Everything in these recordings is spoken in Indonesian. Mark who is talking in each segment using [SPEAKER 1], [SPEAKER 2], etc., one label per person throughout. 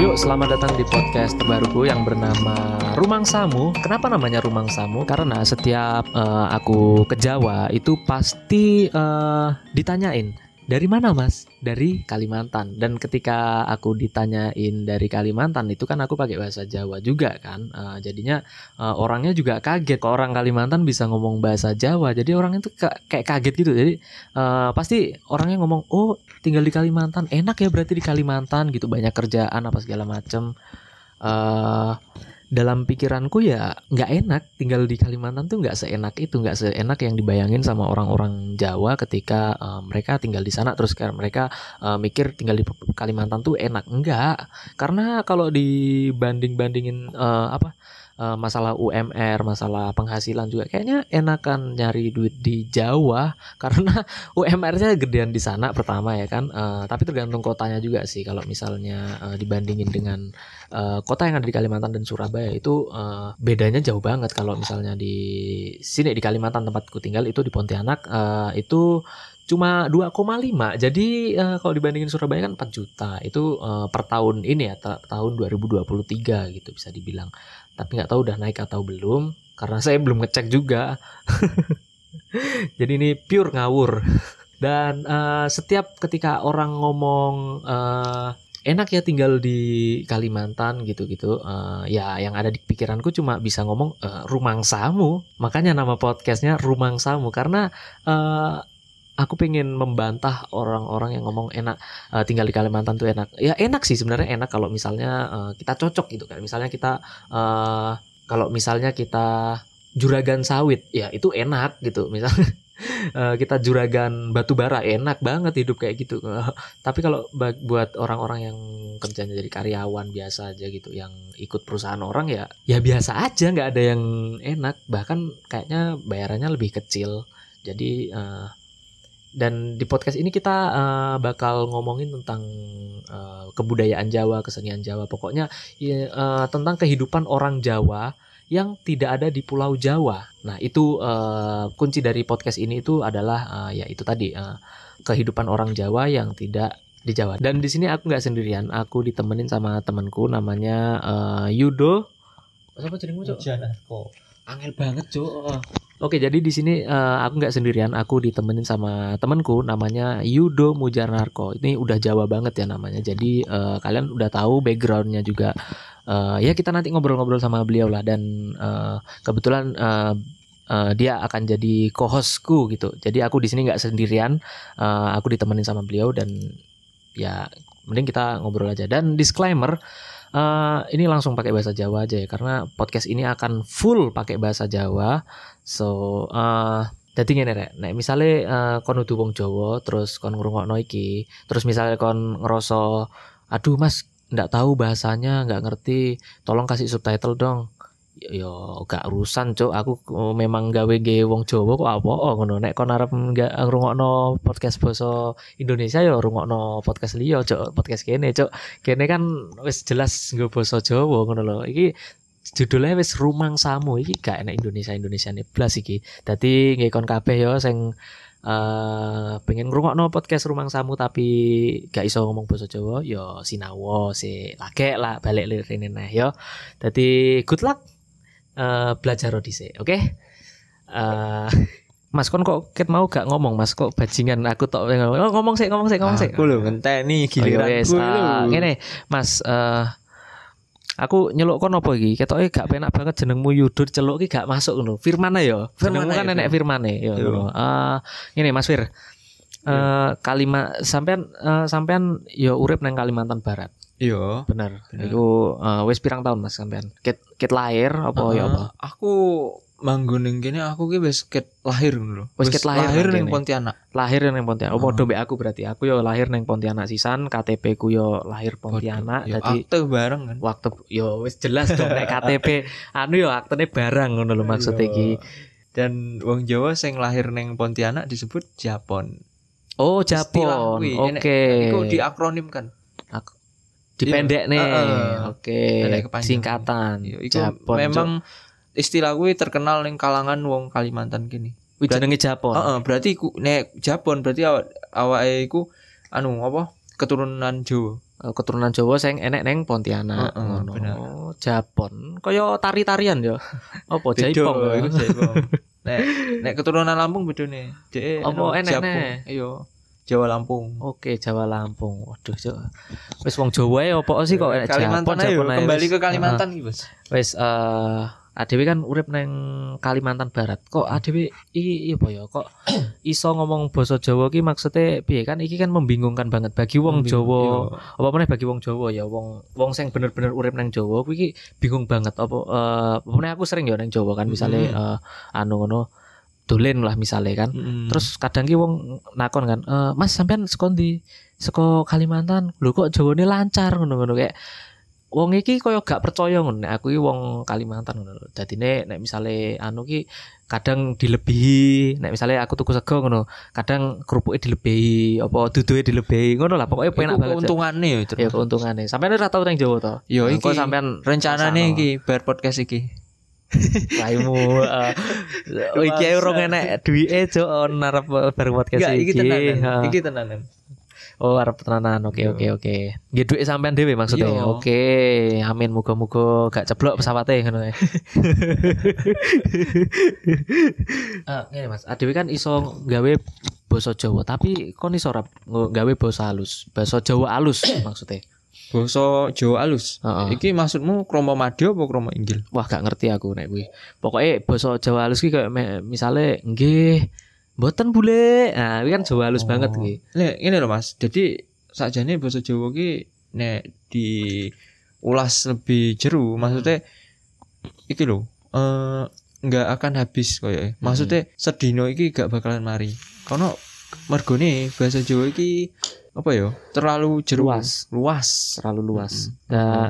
[SPEAKER 1] Yo, selamat datang di podcast terbaruku yang bernama Rumang Samu. Kenapa namanya Rumang Samu? Karena setiap eh, aku ke Jawa itu pasti eh, ditanyain dari mana mas? Dari Kalimantan. Dan ketika aku ditanyain dari Kalimantan itu kan aku pakai bahasa Jawa juga kan. Eh, jadinya eh, orangnya juga kaget. Kok orang Kalimantan bisa ngomong bahasa Jawa? Jadi orang itu ka- kayak kaget gitu. Jadi eh, pasti orangnya ngomong, oh tinggal di Kalimantan enak ya berarti di Kalimantan gitu banyak kerjaan apa segala macem eh dalam pikiranku ya nggak enak tinggal di Kalimantan tuh nggak seenak itu nggak seenak yang dibayangin sama orang-orang Jawa ketika eh, mereka tinggal di sana terus kayak mereka eh, mikir tinggal di Kalimantan tuh enak enggak karena kalau dibanding-bandingin eh, apa eh, masalah UMR masalah penghasilan juga kayaknya enakan nyari duit di Jawa karena UMR-nya gedean di sana pertama ya kan, Eh, tapi tergantung kotanya juga sih. Kalau misalnya eh, dibandingin dengan eh, kota yang ada di Kalimantan dan Surabaya itu eh, bedanya jauh banget. Kalau misalnya di sini di Kalimantan tempatku tinggal itu di Pontianak eh, itu cuma 2,5. Jadi eh, kalau dibandingin Surabaya kan 4 juta. Itu eh, per tahun ini ya ta- tahun 2023 gitu bisa dibilang. Tapi nggak tahu udah naik atau belum karena saya belum ngecek juga. Jadi ini pure ngawur. Dan eh, setiap ketika orang ngomong eh, enak ya tinggal di Kalimantan gitu-gitu, eh, ya yang ada di pikiranku cuma bisa ngomong eh, rumang samu. Makanya nama podcastnya rumang samu karena eh, aku pengen membantah orang-orang yang ngomong enak eh, tinggal di Kalimantan tuh enak. Ya enak sih sebenarnya enak kalau misalnya eh, kita cocok gitu kan. Misalnya kita eh, kalau misalnya kita juragan sawit, ya itu enak gitu. Misal Eh, kita juragan batu bara enak banget hidup kayak gitu tapi kalau ba- buat orang-orang yang kerjanya jadi karyawan biasa aja gitu yang ikut perusahaan orang ya ya biasa aja nggak ada yang enak bahkan kayaknya bayarannya lebih kecil jadi eh, dan di podcast ini kita eh, bakal ngomongin tentang eh, kebudayaan Jawa kesenian Jawa pokoknya ya, eh, tentang kehidupan orang Jawa yang tidak ada di Pulau Jawa. Nah, itu eh, kunci dari podcast ini itu adalah eh, ya itu tadi eh, kehidupan orang Jawa yang tidak di Jawa. Dan di sini aku nggak sendirian, aku ditemenin sama temanku namanya eh, Yudo. Siapa jenengmu, Cok? ah, Angel banget, Cok. Oke, jadi di sini eh, aku nggak sendirian, aku ditemenin sama temanku namanya Yudo Mujarnarko. Ini udah Jawa banget ya namanya. Jadi eh, kalian udah tahu backgroundnya juga. Eh, ya kita nanti ngobrol-ngobrol sama beliau lah dan eh, kebetulan eh, eh, dia akan jadi co-hostku gitu. Jadi aku di sini nggak sendirian, eh, aku ditemenin sama beliau dan ya mending kita ngobrol aja. Dan disclaimer, eh, ini langsung pakai bahasa Jawa aja ya karena podcast ini akan full pakai bahasa Jawa. So eh jadi ngene rek, nek misale eh, kon udu wong Jawa terus kon ngrungokno iki, terus misalnya kon ngerasa aduh Mas ndak tahu bahasanya, nggak ngerti, tolong kasih subtitle dong. Yo gak urusan cuk, aku eh, memang gawe ge wong Jawa kok apa ngono. Nek kon arep nggak ngrungokno podcast basa Indonesia yo rungokno podcast liya cuk, podcast kene cuk. Kene kan wis jelas nggo basa Jawa ngono lho. Iki judulnya wis rumang samu iki gak enak Indonesia Indonesia nih blas iki dadi nggih kon kabeh yo sing eh pengen ngrungokno podcast rumang samu tapi gak iso ngomong basa Jawa yo sinawa sik lagek lah balik lirine neh yo dadi good luck eh belajar dhisik oke Eh Mas kon kok ket mau gak ngomong Mas kok bajingan aku tok oh, ngomong sik ngomong sik ngomong sik
[SPEAKER 2] Aku lho ngenteni
[SPEAKER 1] Giliran Oh,
[SPEAKER 2] giliran
[SPEAKER 1] iya, wes, ah, ngene, Mas eh, aku nyeluk kon apa iki? Ketoke gak penak banget jenengmu Yudur celuk iki gak masuk ngono. Firmana ya.
[SPEAKER 2] Firmana
[SPEAKER 1] Jenengmu
[SPEAKER 2] ya,
[SPEAKER 1] kan
[SPEAKER 2] Fir.
[SPEAKER 1] enek Firmane ya
[SPEAKER 2] Yo.
[SPEAKER 1] ngono. Eh, ngene Mas Fir. Eh kalimat sampean eh, sampean ya urip nang Kalimantan Barat.
[SPEAKER 2] Iya.
[SPEAKER 1] Bener.
[SPEAKER 2] Bener.
[SPEAKER 1] Iku eh, wis pirang tahun Mas sampean? Ket ket lahir apa ya apa?
[SPEAKER 2] Ah, Aku manggon ning kene aku ki wis ket lahir ngono lho.
[SPEAKER 1] Wis ket lahir nang
[SPEAKER 2] ning
[SPEAKER 1] kene.
[SPEAKER 2] Pontianak.
[SPEAKER 1] Lahir nang Pontianak. Oh,
[SPEAKER 2] Oh.
[SPEAKER 1] padha mbek aku berarti. Aku yo lahir nang Pontianak sisan, KTP ku yo lahir Pontianak.
[SPEAKER 2] Ya
[SPEAKER 1] Jadi
[SPEAKER 2] akte bareng kan.
[SPEAKER 1] waktu yo wis jelas dong nek KTP anu yo aktene barang ngono lho maksud
[SPEAKER 2] Iya.
[SPEAKER 1] iki.
[SPEAKER 2] Dan wong Jawa sing lahir ning Pontianak disebut Japon.
[SPEAKER 1] Oh,
[SPEAKER 2] Istilah
[SPEAKER 1] Japon.
[SPEAKER 2] kuwi, enek-
[SPEAKER 1] Oke.
[SPEAKER 2] Iku diakronimkan.
[SPEAKER 1] Dipendek nih.
[SPEAKER 2] Heeh.
[SPEAKER 1] Oke.
[SPEAKER 2] Pendek kepanjangan.
[SPEAKER 1] Singkatan.
[SPEAKER 2] Iya, Iku
[SPEAKER 1] Japon.
[SPEAKER 2] memang istilah kuwi terkenal ning kalangan wong Kalimantan kene.
[SPEAKER 1] Cok. Wih, jenenge Japon.
[SPEAKER 2] Heeh, berarti iku nek Japon berarti awak awake iku anu apa? keturunan Jawa.
[SPEAKER 1] eh, keturunan Jawa sing enek neng Pontianak
[SPEAKER 2] Heeh,
[SPEAKER 1] ngono. Oh,
[SPEAKER 2] bener.
[SPEAKER 1] Japon kaya tari-tarian ya. Apa
[SPEAKER 2] Beda,
[SPEAKER 1] jaipong ya?
[SPEAKER 2] iku jaipong. Nek nek keturunan Lampung bedone. Dek
[SPEAKER 1] Apa enekne?
[SPEAKER 2] Iya. Jawa Lampung.
[SPEAKER 1] Oke, Jawa Lampung. Waduh, Cuk. wis wong Jawa ya apa sih kok enek
[SPEAKER 2] Iya, Kalimantan
[SPEAKER 1] Japon,
[SPEAKER 2] ayo
[SPEAKER 1] Japon ae
[SPEAKER 2] kembali
[SPEAKER 1] wis.
[SPEAKER 2] ke Kalimantan iki, Bos.
[SPEAKER 1] Heeh. Wis eh Adewi kan urip neng Kalimantan Barat. Kok Adewi i iya apa ya? Kok iso ngomong basa Jawa ki maksudnya piye kan iki kan membingungkan banget bagi wong Jawa. apa meneh bagi wong Jawa ya wong wong sing bener-bener urip nang Jawa kuwi iki bingung banget apa eh, apa meneh aku sering ya nang Jawa kan misalnya
[SPEAKER 2] Mhm.
[SPEAKER 1] eh, anu ngono dolen lah misalnya kan
[SPEAKER 2] Hmm.
[SPEAKER 1] terus kadang ki wong nakon kan eh, Mas sampean sekon di seko Kalimantan lho kok Jawane lancar ngono-ngono kayak wong iki koyo gak percaya ngono nek aku iki wong Kalimantan ngono lho dadine nek misale anu ki kadang dilebihi nek misale aku tuku sego ngono kadang kerupuke dilebihi apa duduhe dilebihi ngono lah pokoke penak banget
[SPEAKER 2] Keuntungane ya
[SPEAKER 1] ya
[SPEAKER 2] terus.
[SPEAKER 1] keuntungannya sampean ora tau nang Jawa to
[SPEAKER 2] Yo
[SPEAKER 1] Nah,
[SPEAKER 2] iki
[SPEAKER 1] engko sampean
[SPEAKER 2] rencanane
[SPEAKER 1] Rasano.
[SPEAKER 2] iki bar podcast iki.
[SPEAKER 1] raimu eh, oh, iki ae urung enek duwike jo narep bareng podcast
[SPEAKER 2] Enggak, iki
[SPEAKER 1] iki
[SPEAKER 2] tenanan.
[SPEAKER 1] Ha.
[SPEAKER 2] Iki tenanan.
[SPEAKER 1] oh arep tenanan oke
[SPEAKER 2] Yo.
[SPEAKER 1] oke oke nggih duwike sampean dhewe maksudnya
[SPEAKER 2] Yo.
[SPEAKER 1] oke amin muga-muga gak ceblok pesawate ngono ya Eh, ngene Mas Adewi kan iso gawe basa Jawa tapi kon iso ora gawe basa halus basa Jawa halus maksudnya
[SPEAKER 2] Basa Jawa alus.
[SPEAKER 1] Heeh.
[SPEAKER 2] Iki maksudmu kromo madya apa kromo inggil?
[SPEAKER 1] wah gak ngerti aku nek kuwi. Pokoke basa Jawa halus ki kayak me- misale nggih mboten bule. Nah, kuwi kan Jawa halus
[SPEAKER 2] Oh.
[SPEAKER 1] banget iki.
[SPEAKER 2] Lek ngene lho Mas. Jadi sakjane basa Jawa ki nek diulas lebih
[SPEAKER 1] Hmm.
[SPEAKER 2] jero maksudnya iki lho. Eh nggak akan habis koyo. e.
[SPEAKER 1] Hmm.
[SPEAKER 2] Maksudnya sedino iki gak bakalan mari. Kono mergone basa Jawa iki apa ya? Terlalu jero
[SPEAKER 1] Luas.
[SPEAKER 2] Luas.
[SPEAKER 1] Terlalu luas.
[SPEAKER 2] Mm-mm.
[SPEAKER 1] Nah,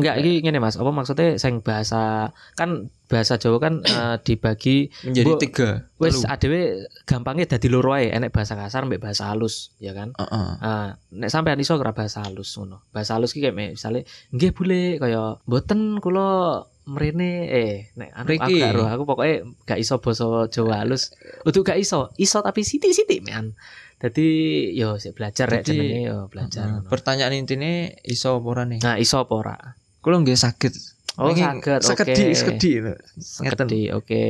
[SPEAKER 1] enggak iki ngene Mas, apa maksudnya sing bahasa kan bahasa Jawa kan eh, dibagi
[SPEAKER 2] Menjadi
[SPEAKER 1] Bu-
[SPEAKER 2] tiga.
[SPEAKER 1] wis
[SPEAKER 2] Telu.
[SPEAKER 1] adewe gampangnya dadi loro ae, enek bahasa kasar mbek bahasa halus, ya kan?
[SPEAKER 2] Heeh.
[SPEAKER 1] Ah, nek sampean iso ora bahasa halus ngono. Bahasa halus ki kayak me- misale nggih bule kaya mboten kula mrene eh nek anu aku
[SPEAKER 2] Mriki.
[SPEAKER 1] gak roh, aku pokoke gak iso basa Jawa halus. Utuh gak iso, iso tapi sithik-sithik mean. Dadi yo sik belajar rek
[SPEAKER 2] Dadi-
[SPEAKER 1] jenenge yo belajar. ngono.
[SPEAKER 2] Heeh. Pertanyaan intinya iso apa ora nih?
[SPEAKER 1] Nah, iso apa ora?
[SPEAKER 2] Kulo nggih saged.
[SPEAKER 1] Oh,
[SPEAKER 2] Niki
[SPEAKER 1] saged.
[SPEAKER 2] Segedi,
[SPEAKER 1] oke.
[SPEAKER 2] segedi. lho. Ngeten.
[SPEAKER 1] Segedi, oke.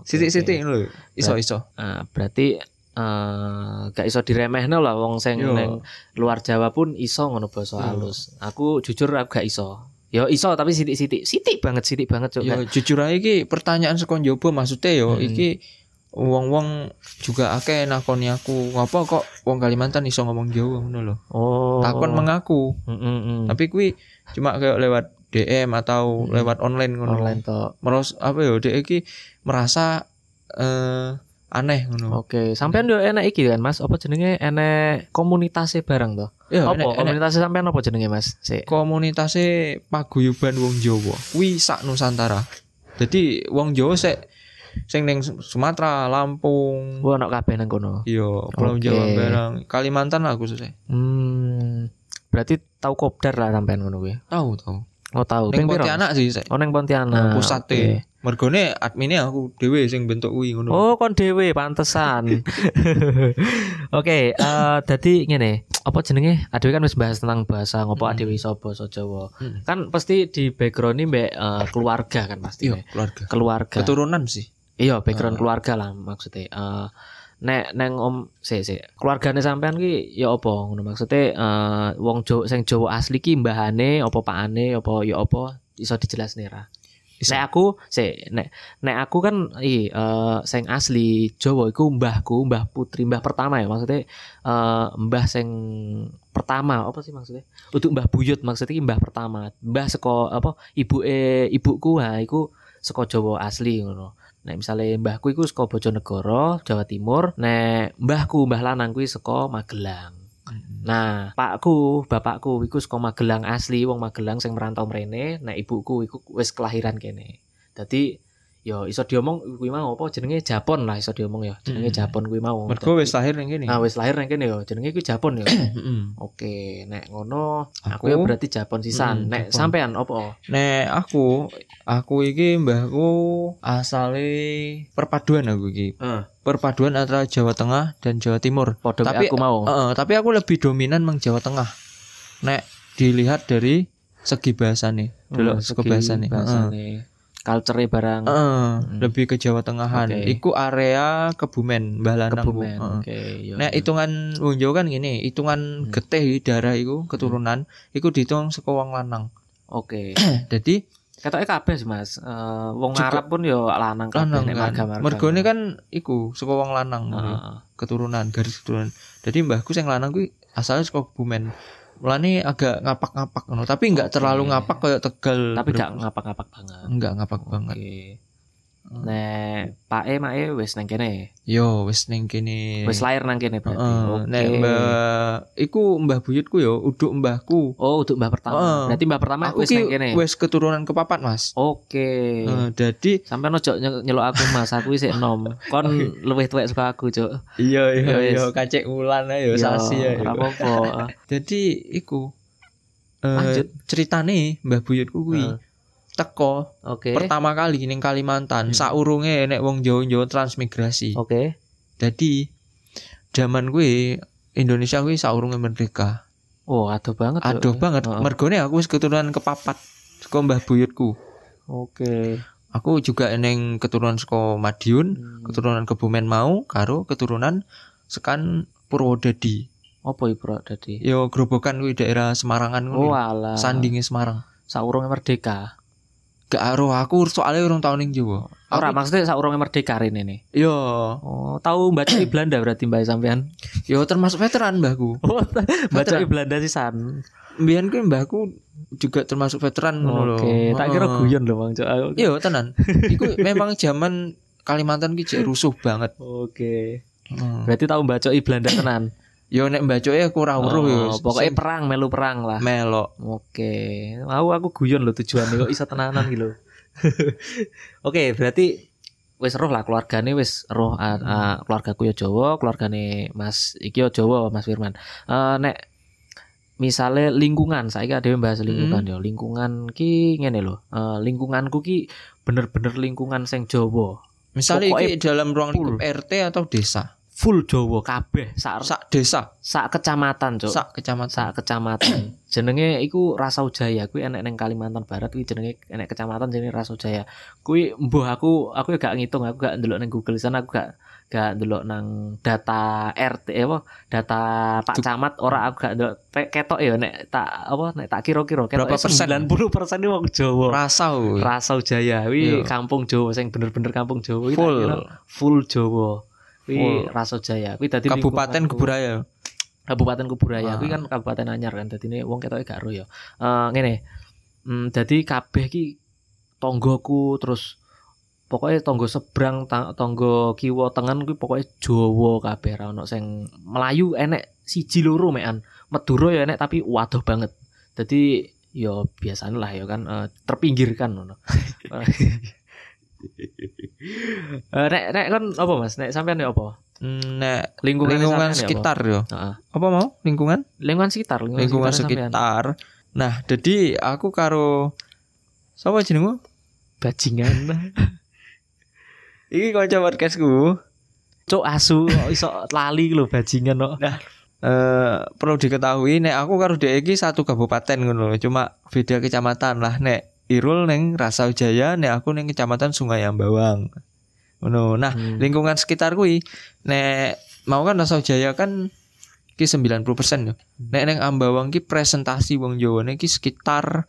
[SPEAKER 1] Oke,
[SPEAKER 2] Sithik-sithik
[SPEAKER 1] oke.
[SPEAKER 2] lho. Iso-iso.
[SPEAKER 1] Ah, berarti eh gak iso diremehno lah wong sing
[SPEAKER 2] Yo.
[SPEAKER 1] neng luar Jawa pun iso ngono basa
[SPEAKER 2] Yo.
[SPEAKER 1] halus. Aku jujur aku gak iso. Yo iso tapi sithik-sithik. Sithik banget, sithik banget cuk. kan.
[SPEAKER 2] Yo
[SPEAKER 1] Kayak,
[SPEAKER 2] jujur aja iki pertanyaan sekon jowo maksudnya yo
[SPEAKER 1] eh. Hmm.
[SPEAKER 2] iki wong-wong juga akeh nakoni aku ngapa kok wong Kalimantan iso ngomong Jawa ngono lho.
[SPEAKER 1] Oh.
[SPEAKER 2] Takon mengaku,
[SPEAKER 1] Mm, mm, mm.
[SPEAKER 2] tapi kuwi cuma kayak lewat DM atau
[SPEAKER 1] Hmm.
[SPEAKER 2] lewat online ngono.
[SPEAKER 1] online tok.
[SPEAKER 2] Meros apa yo dek iki merasa eh aneh ngono.
[SPEAKER 1] Oke, sampean yo enek iki kan Mas, apa jenenge enek komunitasnya bareng to?
[SPEAKER 2] Ya,
[SPEAKER 1] Apa
[SPEAKER 2] enek- enek
[SPEAKER 1] komunitasnya sampean apa jenenge Mas? Sik.
[SPEAKER 2] komunitasnya paguyuban wong Jawa kuwi sak Nusantara jadi wong Jawa sek sing ning Sumatera Lampung
[SPEAKER 1] Gua ono kabeh nang kono.
[SPEAKER 2] yo Iya, Pulau
[SPEAKER 1] Oke.
[SPEAKER 2] Jawa barang Kalimantan lah khususnya
[SPEAKER 1] Hmm. Berarti tau kopdar lah sampean ngono kuwi.
[SPEAKER 2] tahu tahu
[SPEAKER 1] Oh tau.
[SPEAKER 2] ning
[SPEAKER 1] Ping piro?
[SPEAKER 2] Pontianak sih sek
[SPEAKER 1] Oh neng Pontianak. Oke.
[SPEAKER 2] pusate mergone admine aku dhewe sing bentuk kuwi ngono
[SPEAKER 1] Oh kon dhewe pantesan. Oke, eh dadi ngene, apa jenenge? Adewe kan wis bahas tentang bahasa, ngopo
[SPEAKER 2] Mm.
[SPEAKER 1] adewe iso basa Jawa.
[SPEAKER 2] Mm.
[SPEAKER 1] Kan pasti di background ini mbek eh, keluarga kan pasti.
[SPEAKER 2] iya
[SPEAKER 1] Mbak.
[SPEAKER 2] keluarga
[SPEAKER 1] Keluarga.
[SPEAKER 2] keturunan sih
[SPEAKER 1] Iya, background
[SPEAKER 2] Ah.
[SPEAKER 1] keluarga lah maksudnya. Eh nek neng om sik sik. Keluargane sampean ki ya apa ngono maksudnya eh wong Jawa sing Jawa asli ki mbahane apa pakane apa ya apa iso dijelasne ra.
[SPEAKER 2] Iso.
[SPEAKER 1] Nek aku sik nek nek aku kan iki eh sing asli Jawa iku mbahku, mbah putri, mbah pertama ya maksudnya eh mbah sing pertama apa sih maksudnya? Untuk mbah buyut maksudnya ki mbah pertama. Mbah seko apa ibuke ibuku ha iku seko Jawa asli ngono. Nek misalnya mbahku iku saka Bojonegoro, Jawa Timur. Nek mbahku, mbah lanang kuwi saka Magelang.
[SPEAKER 2] Hmm.
[SPEAKER 1] Nah, pakku, bapakku iku saka Magelang asli, wong Magelang sing merantau mrene. Nek ibuku iku wis kelahiran kene. Dadi ya iso diomong kuwi mau apa jenenge Japon lah iso diomong ya. Jenenge
[SPEAKER 2] Mm.
[SPEAKER 1] Japon kuwi mau. Dadi-
[SPEAKER 2] mergo wis lahir ning kene
[SPEAKER 1] Nah, wis lahir nang kene ya. Jenenge kuwi Japon ya.
[SPEAKER 2] Mm.
[SPEAKER 1] Oke, nek ngono aku,
[SPEAKER 2] Aku-
[SPEAKER 1] ya berarti Japon sisan.
[SPEAKER 2] Mm,
[SPEAKER 1] nek
[SPEAKER 2] Japon.
[SPEAKER 1] sampean opo?
[SPEAKER 2] Nek aku, aku iki mbahku asale perpaduan aku iki.
[SPEAKER 1] Heeh.
[SPEAKER 2] Perpaduan antara Jawa Tengah dan Jawa Timur.
[SPEAKER 1] Padha
[SPEAKER 2] Tapi- oh,
[SPEAKER 1] aku mau.
[SPEAKER 2] Heeh, tapi aku lebih dominan meng Jawa Tengah. nek dilihat dari segi bahasane
[SPEAKER 1] Hmm,
[SPEAKER 2] delok Hmm, segi bahasane heeh Oh,
[SPEAKER 1] culture barang
[SPEAKER 2] Heeh,
[SPEAKER 1] Mm.
[SPEAKER 2] lebih ke Jawa Tengahan
[SPEAKER 1] Oke.
[SPEAKER 2] iku area Kebumen Mbah Lanang Bu.
[SPEAKER 1] kebumen
[SPEAKER 2] Heeh.
[SPEAKER 1] oke yo,
[SPEAKER 2] Nek
[SPEAKER 1] yo.
[SPEAKER 2] hitungan Wonjo kan gini, hitungan
[SPEAKER 1] Hmm.
[SPEAKER 2] getih darah iku keturunan iku dihitung saka wong lanang.
[SPEAKER 1] oke
[SPEAKER 2] Dadi
[SPEAKER 1] katanya kabeh sih mas Eh, wong
[SPEAKER 2] Juga-
[SPEAKER 1] Arab pun yo lanang kabeh
[SPEAKER 2] lanang
[SPEAKER 1] nek
[SPEAKER 2] kan.
[SPEAKER 1] marga-marga.
[SPEAKER 2] Mergone kan iku saka wong lanang ngono.
[SPEAKER 1] Heeh.
[SPEAKER 2] keturunan, garis keturunan. Jadi mbahku sing lanang kuwi asalnya saka Kebumen. Mulane agak ngapak-ngapak ngono, tapi enggak
[SPEAKER 1] Oke.
[SPEAKER 2] terlalu ngapak kayak Tegal.
[SPEAKER 1] tapi gak
[SPEAKER 2] Brebes.
[SPEAKER 1] ngapak-ngapak banget
[SPEAKER 2] enggak ngapak banget.
[SPEAKER 1] Oke. Nek Pak E Mak E wis nang kene.
[SPEAKER 2] Yo wis ning kene.
[SPEAKER 1] Wis lahir nang kene berarti.
[SPEAKER 2] Iya. Heeh. Nek mbah iku mbah buyutku yo, uduk mbahku.
[SPEAKER 1] Oh, untuk Mbak pertama.
[SPEAKER 2] Heeh.
[SPEAKER 1] Berarti Mbak pertama
[SPEAKER 2] Aku
[SPEAKER 1] wis
[SPEAKER 2] ki
[SPEAKER 1] nang kene.
[SPEAKER 2] wis keturunan kepapat, Mas.
[SPEAKER 1] Oke.
[SPEAKER 2] Eh, jadi
[SPEAKER 1] Sampai nojo nyelok aku Mas, aku isih enom. Kon luwih tuwek saka aku, Cuk.
[SPEAKER 2] iya iya
[SPEAKER 1] Wis.
[SPEAKER 2] iya kacek ulan ayo sasi ya.
[SPEAKER 1] Ora apa-apa. Eh,
[SPEAKER 2] Jadi iku
[SPEAKER 1] Lanjut.
[SPEAKER 2] eh ceritane mbah buyutku kuwi
[SPEAKER 1] Eh.
[SPEAKER 2] teko
[SPEAKER 1] Oke.
[SPEAKER 2] pertama kali ning Kalimantan
[SPEAKER 1] Hmm.
[SPEAKER 2] saurunge nek wong Jawa-Jawa transmigrasi.
[SPEAKER 1] Oke.
[SPEAKER 2] Jadi jaman kuwi Indonesia kuwi saurunge merdeka.
[SPEAKER 1] Oh, adoh banget. Cuk.
[SPEAKER 2] Aduh banget
[SPEAKER 1] Heeh.
[SPEAKER 2] mergone aku wis keturunan kepapat saka mbah buyutku.
[SPEAKER 1] Oke.
[SPEAKER 2] Aku juga neng keturunan saka Madiun,
[SPEAKER 1] Hmm.
[SPEAKER 2] keturunan Kebumen mau karo keturunan sekan Purwodadi.
[SPEAKER 1] Apa ibu Bro tadi?
[SPEAKER 2] Yo grobokan kuwi daerah Semarangan
[SPEAKER 1] Oh,
[SPEAKER 2] ngono.
[SPEAKER 1] alah.
[SPEAKER 2] Sandinge Semarang.
[SPEAKER 1] Saurunge merdeka.
[SPEAKER 2] Gak aruh aku soalnya urung tau ning Jawa.
[SPEAKER 1] Ora
[SPEAKER 2] Aku-
[SPEAKER 1] maksudnya saurunge merdeka rene nih.
[SPEAKER 2] Yo,
[SPEAKER 1] Oh, tahu baca di Belanda berarti Mbak ya, sampean.
[SPEAKER 2] yo termasuk veteran mbahku.
[SPEAKER 1] Oh, baca
[SPEAKER 2] Veteran.
[SPEAKER 1] di Belanda sih San.
[SPEAKER 2] Mbiyen kuwi mbahku juga termasuk veteran ngono lho.
[SPEAKER 1] Oke, tak kira
[SPEAKER 2] Heeh.
[SPEAKER 1] guyon loh Bang Cok. Aku-
[SPEAKER 2] Iya, tenan. Iku memang zaman Kalimantan ki jek rusuh banget.
[SPEAKER 1] Oke.
[SPEAKER 2] Heeh.
[SPEAKER 1] Berarti tahu baca di Belanda tenan.
[SPEAKER 2] Yo nek mbacoke aku ora weruh yo.
[SPEAKER 1] Oh, pokoknya
[SPEAKER 2] Sing
[SPEAKER 1] perang, melu perang lah.
[SPEAKER 2] melok.
[SPEAKER 1] Oke. Aku aku guyon loh tujuannya kok iso tenanan gitu. Oke, berarti wis roh lah keluargane wis roh ah, ah, keluargaku ya Jawa, keluargane Mas iki ya Jawa, Mas Firman. Eh nek misalnya lingkungan saiki ada yang bahas lingkungan ya lingkungan ki ngene lho Eh, lingkunganku ki bener-bener lingkungan sing Jawa
[SPEAKER 2] Misalnya
[SPEAKER 1] Pokoknya
[SPEAKER 2] iki dalam ruang lingkup RT atau desa.
[SPEAKER 1] full Jawa kabeh sak
[SPEAKER 2] Sak desa,
[SPEAKER 1] sak kecamatan cok
[SPEAKER 2] sak kecamatan.
[SPEAKER 1] sak kecamatan jenenge iku Rasau Jaya kuwi enek neng Kalimantan Barat kuwi jenenge enek kecamatan jenenge Rasau Jaya kuwi mbuh aku aku ya gak ngitung aku gak ndelok nang Google sana aku gak gak ndelok nang data RT eh, apa data Pak
[SPEAKER 2] Duk-
[SPEAKER 1] Camat ora aku gak ndelok Pe- ketok ya nek tak apa nek tak kira-kira ketok ya,
[SPEAKER 2] Berapa
[SPEAKER 1] 90%
[SPEAKER 2] persen?
[SPEAKER 1] ini wong Jawa
[SPEAKER 2] Rasa woy.
[SPEAKER 1] Rasau Jaya kuwi
[SPEAKER 2] Iya.
[SPEAKER 1] kampung Jawa sing bener-bener kampung Jawa kuwi tak
[SPEAKER 2] full.
[SPEAKER 1] kira full Jawa
[SPEAKER 2] Full.
[SPEAKER 1] kuwi Rasau Jaya kuwi dadi
[SPEAKER 2] Kabupaten
[SPEAKER 1] lingkunganku.
[SPEAKER 2] Kuburaya.
[SPEAKER 1] Kabupaten Kuburaya
[SPEAKER 2] Ah.
[SPEAKER 1] kuwi kan Kabupaten Anyar kan dadi ini wong ketoke gak ero ya. Eh ngene. Hmm, dadi kabeh ki tanggoku terus pokoknya tanggo seberang ta- tanggo kiwa tengen kuwi pokoknya Jawa kabeh ra ono sing Melayu enek siji loro mekan. Madura ya enek tapi waduh banget. Dadi ya biasanya lah ya kan eh, terpinggirkan ngono. Eh, nek nek kan apa Mas? Nek sampean ya apa? ya
[SPEAKER 2] Nek
[SPEAKER 1] Lingkungan,
[SPEAKER 2] lingkungan sekitar yo.
[SPEAKER 1] Heeh.
[SPEAKER 2] Apa mau? Lingkungan?
[SPEAKER 1] Lingkungan sekitar,
[SPEAKER 2] lingkungan
[SPEAKER 1] sampean.
[SPEAKER 2] sekitar. Nah, jadi aku karo sapa jenengmu?
[SPEAKER 1] bajingan
[SPEAKER 2] Iki kanca podcastku.
[SPEAKER 1] cok asu kok iso lali lho bajingan kok
[SPEAKER 2] Eh perlu diketahui nek aku karo dhek iki satu kabupaten ngono lho, cuma beda kecamatan lah nek Irul neng Rasau Jaya nek aku neng kecamatan Sungai Ambawang. Ngono. Nah,
[SPEAKER 1] Hmm.
[SPEAKER 2] lingkungan sekitar kuwi nek mau kan Rasau Jaya kan ki 90% yo. Nek neng Ambawang ki presentasi wong Jawane ki sekitar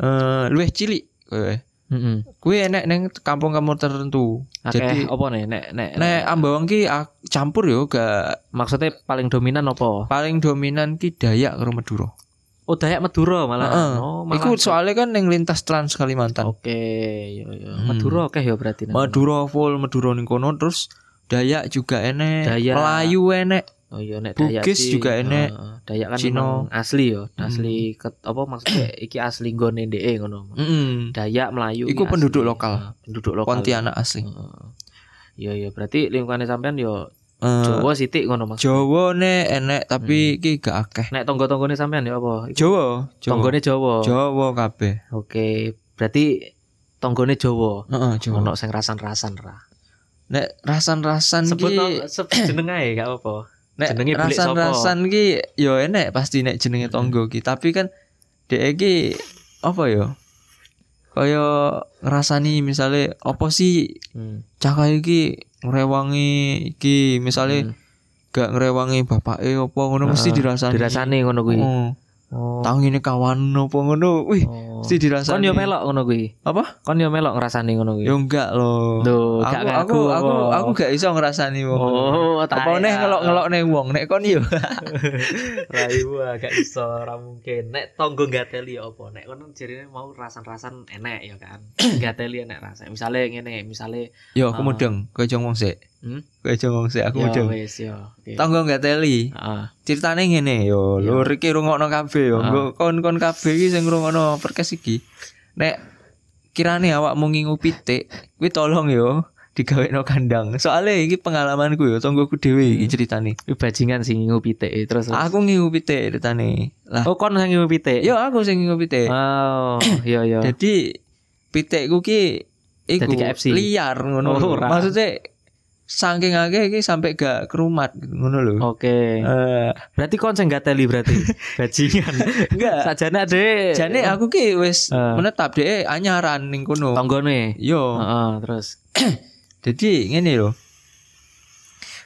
[SPEAKER 2] eh luwih cilik. Eh,
[SPEAKER 1] Heeh.
[SPEAKER 2] Kuwi enek neng kampung-kampung tertentu.
[SPEAKER 1] Jadi
[SPEAKER 2] Jadi-
[SPEAKER 1] apa nih nek nek,
[SPEAKER 2] Nek Ambawang ki ak- campur yo gak
[SPEAKER 1] maksudnya paling dominan apa?
[SPEAKER 2] paling dominan ki Dayak karo Madura.
[SPEAKER 1] Oh Dayak Madura malah.
[SPEAKER 2] Heeh.
[SPEAKER 1] Oh, malah.
[SPEAKER 2] Iku soalnya kan neng lintas Trans Kalimantan.
[SPEAKER 1] Oke, yo yo.
[SPEAKER 2] Hmm.
[SPEAKER 1] Madura oke ya berarti. nek.
[SPEAKER 2] Madura full Madura ning kono terus Dayak juga enek,
[SPEAKER 1] Dayak.
[SPEAKER 2] Melayu enek.
[SPEAKER 1] Oh iya nek Dayak.
[SPEAKER 2] Bugis
[SPEAKER 1] sih,
[SPEAKER 2] juga enek. Hmm.
[SPEAKER 1] heeh. Dayak kan
[SPEAKER 2] Cino.
[SPEAKER 1] memang asli yo, asli ket- apa maksudnya
[SPEAKER 2] Hmm.
[SPEAKER 1] iki asli nggone ndeke ngono.
[SPEAKER 2] Mm-mm.
[SPEAKER 1] Dayak Melayu.
[SPEAKER 2] Hmm. Iku
[SPEAKER 1] ini
[SPEAKER 2] penduduk
[SPEAKER 1] asli.
[SPEAKER 2] lokal.
[SPEAKER 1] Heeh, penduduk lokal.
[SPEAKER 2] Pontianak asli.
[SPEAKER 1] Heeh. Iya iya berarti lingkungannya sampean yo
[SPEAKER 2] Eh,
[SPEAKER 1] Jawa sithik ngono maksudnya.
[SPEAKER 2] Jawa nek enek
[SPEAKER 1] Hmm.
[SPEAKER 2] tapi ki gak akeh.
[SPEAKER 1] Nek tonggo-tonggone sampean ya apa?
[SPEAKER 2] Jawa, Jawa.
[SPEAKER 1] Tonggone Jawa.
[SPEAKER 2] Jawa kabeh.
[SPEAKER 1] Oke, berarti tonggone Jawa.
[SPEAKER 2] Heeh, Jawa.
[SPEAKER 1] Ono sing rasan-rasan ra.
[SPEAKER 2] Nek rasan-rasan
[SPEAKER 1] Sebut
[SPEAKER 2] ki
[SPEAKER 1] no- sebut jeneng ae gak apa-apa.
[SPEAKER 2] nek
[SPEAKER 1] Jenenge bulik
[SPEAKER 2] rasan
[SPEAKER 1] sapa? Hmm.
[SPEAKER 2] rasan ki yo enek pasti nek jenenge tonggo ki tapi kan dhek ki apa yo kaya ngrasani misale apa sih
[SPEAKER 1] Hmm.
[SPEAKER 2] cah kae iki ngrewangi iki misale
[SPEAKER 1] Hmm.
[SPEAKER 2] gak ngrewangi bapake apa ngono mesti
[SPEAKER 1] Ah,
[SPEAKER 2] dirasani
[SPEAKER 1] dirasani ngono kuwi.
[SPEAKER 2] oh,
[SPEAKER 1] Oh.
[SPEAKER 2] tau ngene kawan apa ngono wih
[SPEAKER 1] Oh.
[SPEAKER 2] mesti
[SPEAKER 1] Kon
[SPEAKER 2] dirasani
[SPEAKER 1] yo melok ngono kuwi.
[SPEAKER 2] apa
[SPEAKER 1] Kon yo melok ngrasani ngono kuwi.
[SPEAKER 2] yo enggak loh
[SPEAKER 1] Duh,
[SPEAKER 2] aku,
[SPEAKER 1] gak
[SPEAKER 2] aku
[SPEAKER 1] ngaku
[SPEAKER 2] aku
[SPEAKER 1] apa.
[SPEAKER 2] aku gak iso ngrasani wong
[SPEAKER 1] Oh, tak.
[SPEAKER 2] apa neh ngelok-ngelok neh wong nek kon yo
[SPEAKER 1] Rayu agak iso ora mungkin. Nek tonggo gateli ya apa? Nek kono jarine mau rasan-rasan enek ya kan. gateli enek rasa. Misale ngene, misale
[SPEAKER 2] yo aku
[SPEAKER 1] Ah.
[SPEAKER 2] mudeng kowe jong wong sik
[SPEAKER 1] Hmm?
[SPEAKER 2] kowe jong wong sik aku
[SPEAKER 1] ya
[SPEAKER 2] mudeng
[SPEAKER 1] wis ya. Oke. Ah,
[SPEAKER 2] tanggo gak teli
[SPEAKER 1] Heeh.
[SPEAKER 2] ceritane ngene yo
[SPEAKER 1] Iya.
[SPEAKER 2] lur iki rungokno kabeh yo
[SPEAKER 1] Ah.
[SPEAKER 2] nggo kon-kon kabeh iki sing rungokno perkes iki nek kirane awakmu ngingu pitik kuwi tolong yo digawekno kandang soalnya iki pengalamanku yo tonggoku dhewe iki
[SPEAKER 1] Hmm.
[SPEAKER 2] ceritane
[SPEAKER 1] Kuwi bajingan sing ngingu pitik eh, terus. terus.
[SPEAKER 2] aku ngingu pitik ceritane lah
[SPEAKER 1] Oh, kon sing ngingu pitik.
[SPEAKER 2] yo aku sing ngingu pitik
[SPEAKER 1] Oh, iya iya.
[SPEAKER 2] Jadi pitikku ki iku
[SPEAKER 1] Dadi KFC.
[SPEAKER 2] liar
[SPEAKER 1] Oh,
[SPEAKER 2] ngono. lho.
[SPEAKER 1] ora.
[SPEAKER 2] Maksudnya saking akeh iki sampai gak kerumat gitu, ngono lho.
[SPEAKER 1] Oke.
[SPEAKER 2] Eh,
[SPEAKER 1] Berarti kon sing gateli berarti. bajingan.
[SPEAKER 2] enggak.
[SPEAKER 1] Sajane ade.
[SPEAKER 2] Jane aku ki wis
[SPEAKER 1] Eh.
[SPEAKER 2] menetap dhek anyaran ning kono.
[SPEAKER 1] tonggone.
[SPEAKER 2] Yo,
[SPEAKER 1] Heeh, terus.
[SPEAKER 2] jadi ngene lho.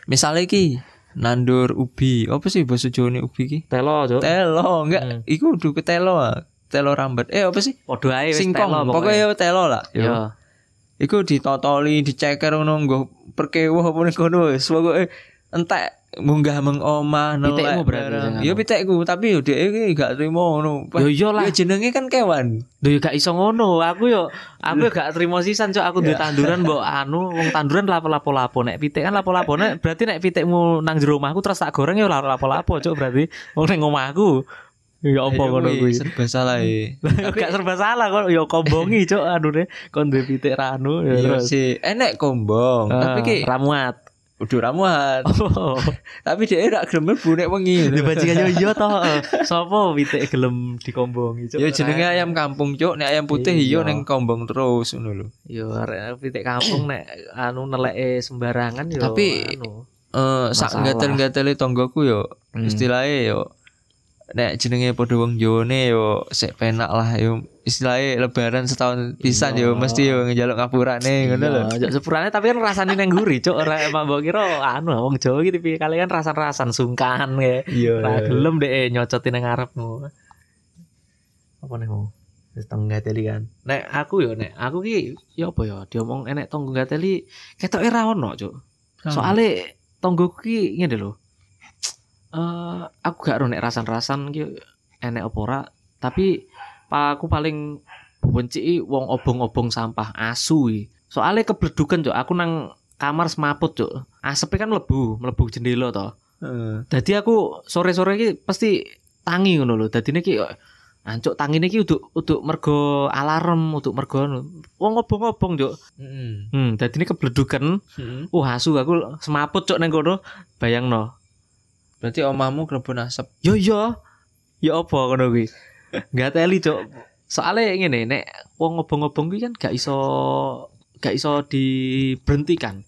[SPEAKER 2] Misalnya ki nandur ubi, apa sih bahasa Jawa ubi ki?
[SPEAKER 1] Telo, Cuk.
[SPEAKER 2] Telo, enggak.
[SPEAKER 1] Hmm.
[SPEAKER 2] Iku udah telo ah. Telo rambat. Eh apa sih?
[SPEAKER 1] Padha ae wis
[SPEAKER 2] Singkong.
[SPEAKER 1] telo
[SPEAKER 2] pokoknya. yo telo lah. Yo.
[SPEAKER 1] Yo.
[SPEAKER 2] Iku ditotoli, diceker ngono nggo perkewah apa ning kono wis pokoke entek munggah meng omah
[SPEAKER 1] Pitikmu
[SPEAKER 2] nelek.
[SPEAKER 1] berarti
[SPEAKER 2] barang.
[SPEAKER 1] sing
[SPEAKER 2] Ya
[SPEAKER 1] anu.
[SPEAKER 2] pitikku, tapi yo dhek iki gak trimo ngono.
[SPEAKER 1] Yo yo lah.
[SPEAKER 2] Ya jenenge kan kewan.
[SPEAKER 1] Duh, ya gak iso ngono. Aku yo aku yo gak terima sisan cok aku
[SPEAKER 2] Ya.
[SPEAKER 1] duwe tanduran mbok anu wong tanduran lapo-lapo-lapo nek pitik kan lapo-lapo nek berarti nek pitikmu nang jero omahku terus tak goreng yo lapo-lapo cok berarti wong ning omahku. Ya apa
[SPEAKER 2] Ya,
[SPEAKER 1] ngono kuwi.
[SPEAKER 2] kuwi Serba salah e.
[SPEAKER 1] Gak serba salah kok yo kombongi cok anune kon duwe pitik ranu ya
[SPEAKER 2] Iya
[SPEAKER 1] terus.
[SPEAKER 2] sih, enek kombong, tapi ki
[SPEAKER 1] Eh, ramuat.
[SPEAKER 2] udah ramuan.
[SPEAKER 1] Oh,
[SPEAKER 2] Tapi dhek e rak gelem mlebu nek wengi.
[SPEAKER 1] di bajingan yo
[SPEAKER 2] iya
[SPEAKER 1] yo to. Sopo Eh, pitik gelem dikombongi cok.
[SPEAKER 2] Ya jenenge ayam kampung, Cuk. Nek ayam putih
[SPEAKER 1] Iya.
[SPEAKER 2] yo ning kombong terus ngono lho.
[SPEAKER 1] yo arek pitik kampung nek anu neleke sembarangan yo
[SPEAKER 2] Tapi-
[SPEAKER 1] anu.
[SPEAKER 2] Eh, sak
[SPEAKER 1] Masalah.
[SPEAKER 2] gatel-gatele tonggoku yo
[SPEAKER 1] Hmm.
[SPEAKER 2] istilahnya yo nek jenenge padha wong Jawane yo sik penak lah yo istilahnya lebaran setahun pisan
[SPEAKER 1] Iya.
[SPEAKER 2] yo mesti yo ngejaluk ngapurane ngono lho.
[SPEAKER 1] Iya, Cuk, sepurane tapi kan rasane nang guri, cuk. Ora emang mbok kira anu wong Jawa iki tipikale kan rasan-rasan sungkan ya.
[SPEAKER 2] Iya.
[SPEAKER 1] Ora gelem deh nyocoti nang ngarepmu. Apa nih mau? Wis tong gateli kan. Nek aku yo nek aku ki yo apa yo diomong enek tonggo gateli ketoke ra ono, cuk.
[SPEAKER 2] Kan.
[SPEAKER 1] Soale tonggo ki ngene lho. Eh aku gak ro nek rasan-rasan ki enek apa ora, tapi pa aku paling benci wong obong-obong sampah asu iki. Soale kebledukan, Cuk. Aku nang kamar semaput, Cuk. Asepe kan mlebu, mlebu jendela to. Dadi aku sore-sore iki pasti tangi ngono lho. Dadine ki ancuk tangine ki uduk uduk mergo alarm, uduk mergo anu. wong obong-obong, Cuk. Hmm, dadine kebledukan. Uh, asu aku semaput, Cuk, nang kono. Bayangno.
[SPEAKER 2] Berarti omahmu krebon asap.
[SPEAKER 1] yo yo yo apa ngono kuwi nggak teli cok soalnya ngene nek wong ngobong-ngobong kuwi kan gak iso gak iso diberhentikan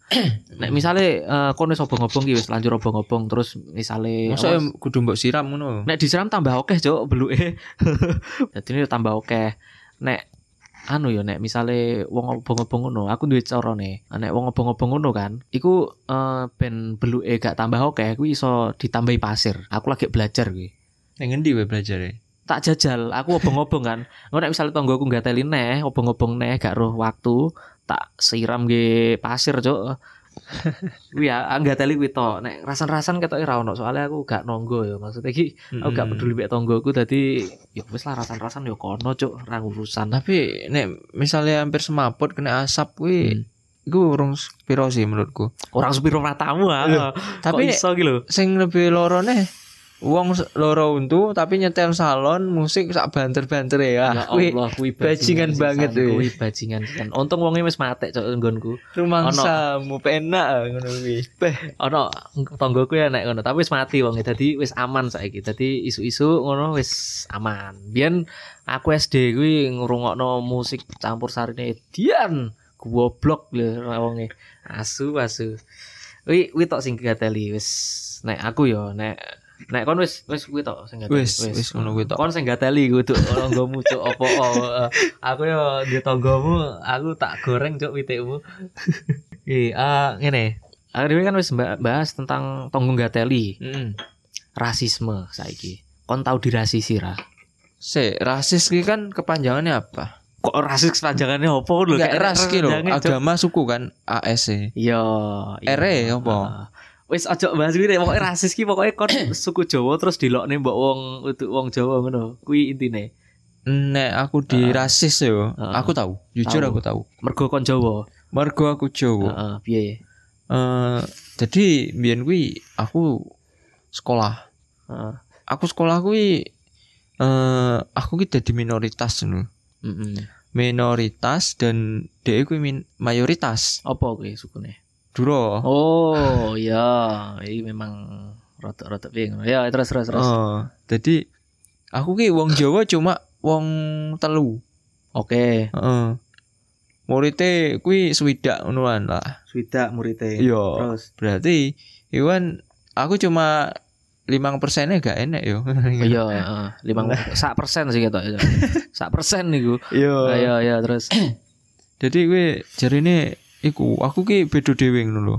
[SPEAKER 1] nek misale eh, kono wis obong-obong ki wis lanjur obong-obong terus misale
[SPEAKER 2] Masa
[SPEAKER 1] apa,
[SPEAKER 2] yo kudu mbok siram ngono.
[SPEAKER 1] nek disiram tambah oke cok beluke dadi ini tambah oke nek anu yo nek misale wong obong-obong ngono aku duwe carane nek wong obong-obong ngono kan iku eh, ben beluke gak tambah oke kuwi iso ditambahi pasir aku lagi belajar kuwi
[SPEAKER 2] Ning ngendi kowe belajar
[SPEAKER 1] tak jajal aku obong-obong kan ngono nek misalnya tonggo aku gateli neh obong-obong neh gak roh waktu tak siram ge pasir cuk Wih ya, gateli kuwi tok. Nek rasan-rasan ketoke ra ono soalnya aku gak nonggo ya. Maksudnya iki aku gak peduli mek tonggoku dadi ya wis lah rasan-rasan ya kono cuk, ra urusan.
[SPEAKER 2] Tapi nek misalnya hampir semaput kena asap kuwi
[SPEAKER 1] Hmm.
[SPEAKER 2] iku urung piro sih menurutku.
[SPEAKER 1] Orang supir ratamu
[SPEAKER 2] Loh,
[SPEAKER 1] ah. Tapi
[SPEAKER 2] Tapi
[SPEAKER 1] iso iki lho.
[SPEAKER 2] sing lebih loro neh wong s- loro untu tapi nyetel salon musik sak banter-banter
[SPEAKER 1] Ya
[SPEAKER 2] ya. Kuwi
[SPEAKER 1] Allah, kuwi sisan,
[SPEAKER 2] bajingan banget, wih.
[SPEAKER 1] kuwi bajingan. sisan. Untung wonge wis matek cuk nggonku.
[SPEAKER 2] rumangsamu penak ah, ngono kuwi. Beh,
[SPEAKER 1] ono tonggoku ya nek ngono tapi wis mati wong dadi wis aman saiki dadi isu-isu ngono wis aman biyen aku SD kuwi ngrungokno musik campur sarine Dian goblok lho wonge asu asu Wi wi tok sing gateli wis nek aku yo nek nek kon wis wis kuwi tok sing gateli.
[SPEAKER 2] Wis, wis ngono kuwi tok.
[SPEAKER 1] Kon sing gateli kudu tanggamu cuk opo eh, aku yo di tanggamu aku tak goreng cuk witikmu. Eh eh, ngene. Aku dhewe kan wis mba- bahas tentang tanggung gateli
[SPEAKER 2] Heeh.
[SPEAKER 1] rasisme saiki. Kon tau dirasisi ra.
[SPEAKER 2] Se, rasis ki kan kepanjangannya apa?
[SPEAKER 1] Kok rasis kepanjangannya opo lho?
[SPEAKER 2] Enggak
[SPEAKER 1] Kayak
[SPEAKER 2] ras ki lho,
[SPEAKER 1] kepanjangannya, Cuk.
[SPEAKER 2] agama suku kan ASE.
[SPEAKER 1] Yo,
[SPEAKER 2] Ere ya, opo?
[SPEAKER 1] Heeh. iya. Ah, Wis ojo bahas kuwi deh, pokoke rasis ki pokoke kon suku Jawa terus dilokne mbok wong untuk wong Jawa ngono. Kuwi intine.
[SPEAKER 2] Nek aku di
[SPEAKER 1] Heeh.
[SPEAKER 2] rasis yo,
[SPEAKER 1] Heeh.
[SPEAKER 2] aku tahu, jujur
[SPEAKER 1] Tahu.
[SPEAKER 2] aku tahu.
[SPEAKER 1] Mergo kon
[SPEAKER 2] Oh.
[SPEAKER 1] Jawa.
[SPEAKER 2] Mergo aku Jawa.
[SPEAKER 1] Heeh, piye?
[SPEAKER 2] Eh, jadi biyen kuwi aku sekolah.
[SPEAKER 1] Heeh.
[SPEAKER 2] Aku sekolah kuwi eh aku ki dadi minoritas ngono.
[SPEAKER 1] Heeh.
[SPEAKER 2] Minoritas dan dhek kuwi min- mayoritas.
[SPEAKER 1] Apa kuwi sukune?
[SPEAKER 2] Duro.
[SPEAKER 1] Oh, iya, iki memang rotok-rotok piye ngono. Ya, terus terus terus.
[SPEAKER 2] Oh, jadi aku ki wong Jawa cuma wong telu.
[SPEAKER 1] Oke,
[SPEAKER 2] Heeh. Muridnya kuwi swidak ngonoan lah.
[SPEAKER 1] swidak murite.
[SPEAKER 2] Yo,
[SPEAKER 1] Terus.
[SPEAKER 2] berarti Iwan aku cuma limang persennya gak enak yo.
[SPEAKER 1] Iya, heeh. Limang
[SPEAKER 2] Oh.
[SPEAKER 1] sak persen sih ketok. iya. Sak persen niku.
[SPEAKER 2] Yo.
[SPEAKER 1] Ayo, ayo terus.
[SPEAKER 2] Iya. Jadi gue jarine iku aku ki bedo dhewe ngono lho.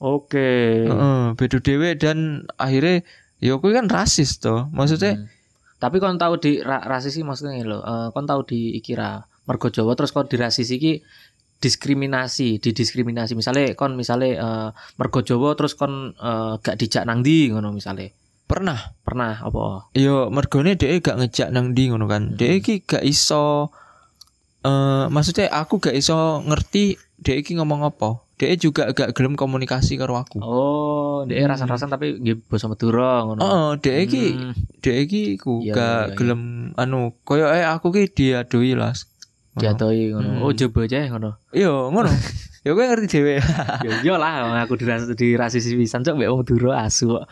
[SPEAKER 1] Oke.
[SPEAKER 2] Heeh, bedo dhewe dan akhirnya yo kuwi kan rasis to. Maksudnya
[SPEAKER 1] Hmm. Tapi kon tahu di ra, rasis sih maksudnya ngene lho. eh, kon tahu di iki ra mergo Jawa terus kon dirasis iki diskriminasi, didiskriminasi. Misale kon misale eh, mergo Jawa terus kon eh, gak dijak nang ndi ngono misale.
[SPEAKER 2] pernah
[SPEAKER 1] Pernah apa?
[SPEAKER 2] yo mergone dhek gak ngejak nang ndi ngono kan.
[SPEAKER 1] Hmm.
[SPEAKER 2] Dhek ki gak iso eh maksudnya aku gak iso ngerti dhek ki ngomong apa. Dhek juga gak gelem komunikasi karo aku.
[SPEAKER 1] Oh, dhek
[SPEAKER 2] Hmm. Oh,
[SPEAKER 1] rasan-rasan tapi nggih basa Madura ngono.
[SPEAKER 2] Heeh, dhek ki
[SPEAKER 1] Hmm.
[SPEAKER 2] dhek ki ku
[SPEAKER 1] Iya,
[SPEAKER 2] gak
[SPEAKER 1] iya, iya.
[SPEAKER 2] gelem anu koyoke aku ki diadoi las. Ngono.
[SPEAKER 1] diatoi ngono.
[SPEAKER 2] Hmm.
[SPEAKER 1] Oh, coba aja ngono.
[SPEAKER 2] Iya, ngono. ya gue ngerti dhewe.
[SPEAKER 1] ya iyalah aku diras dirasis pisan cok mbek wong Madura asu kok.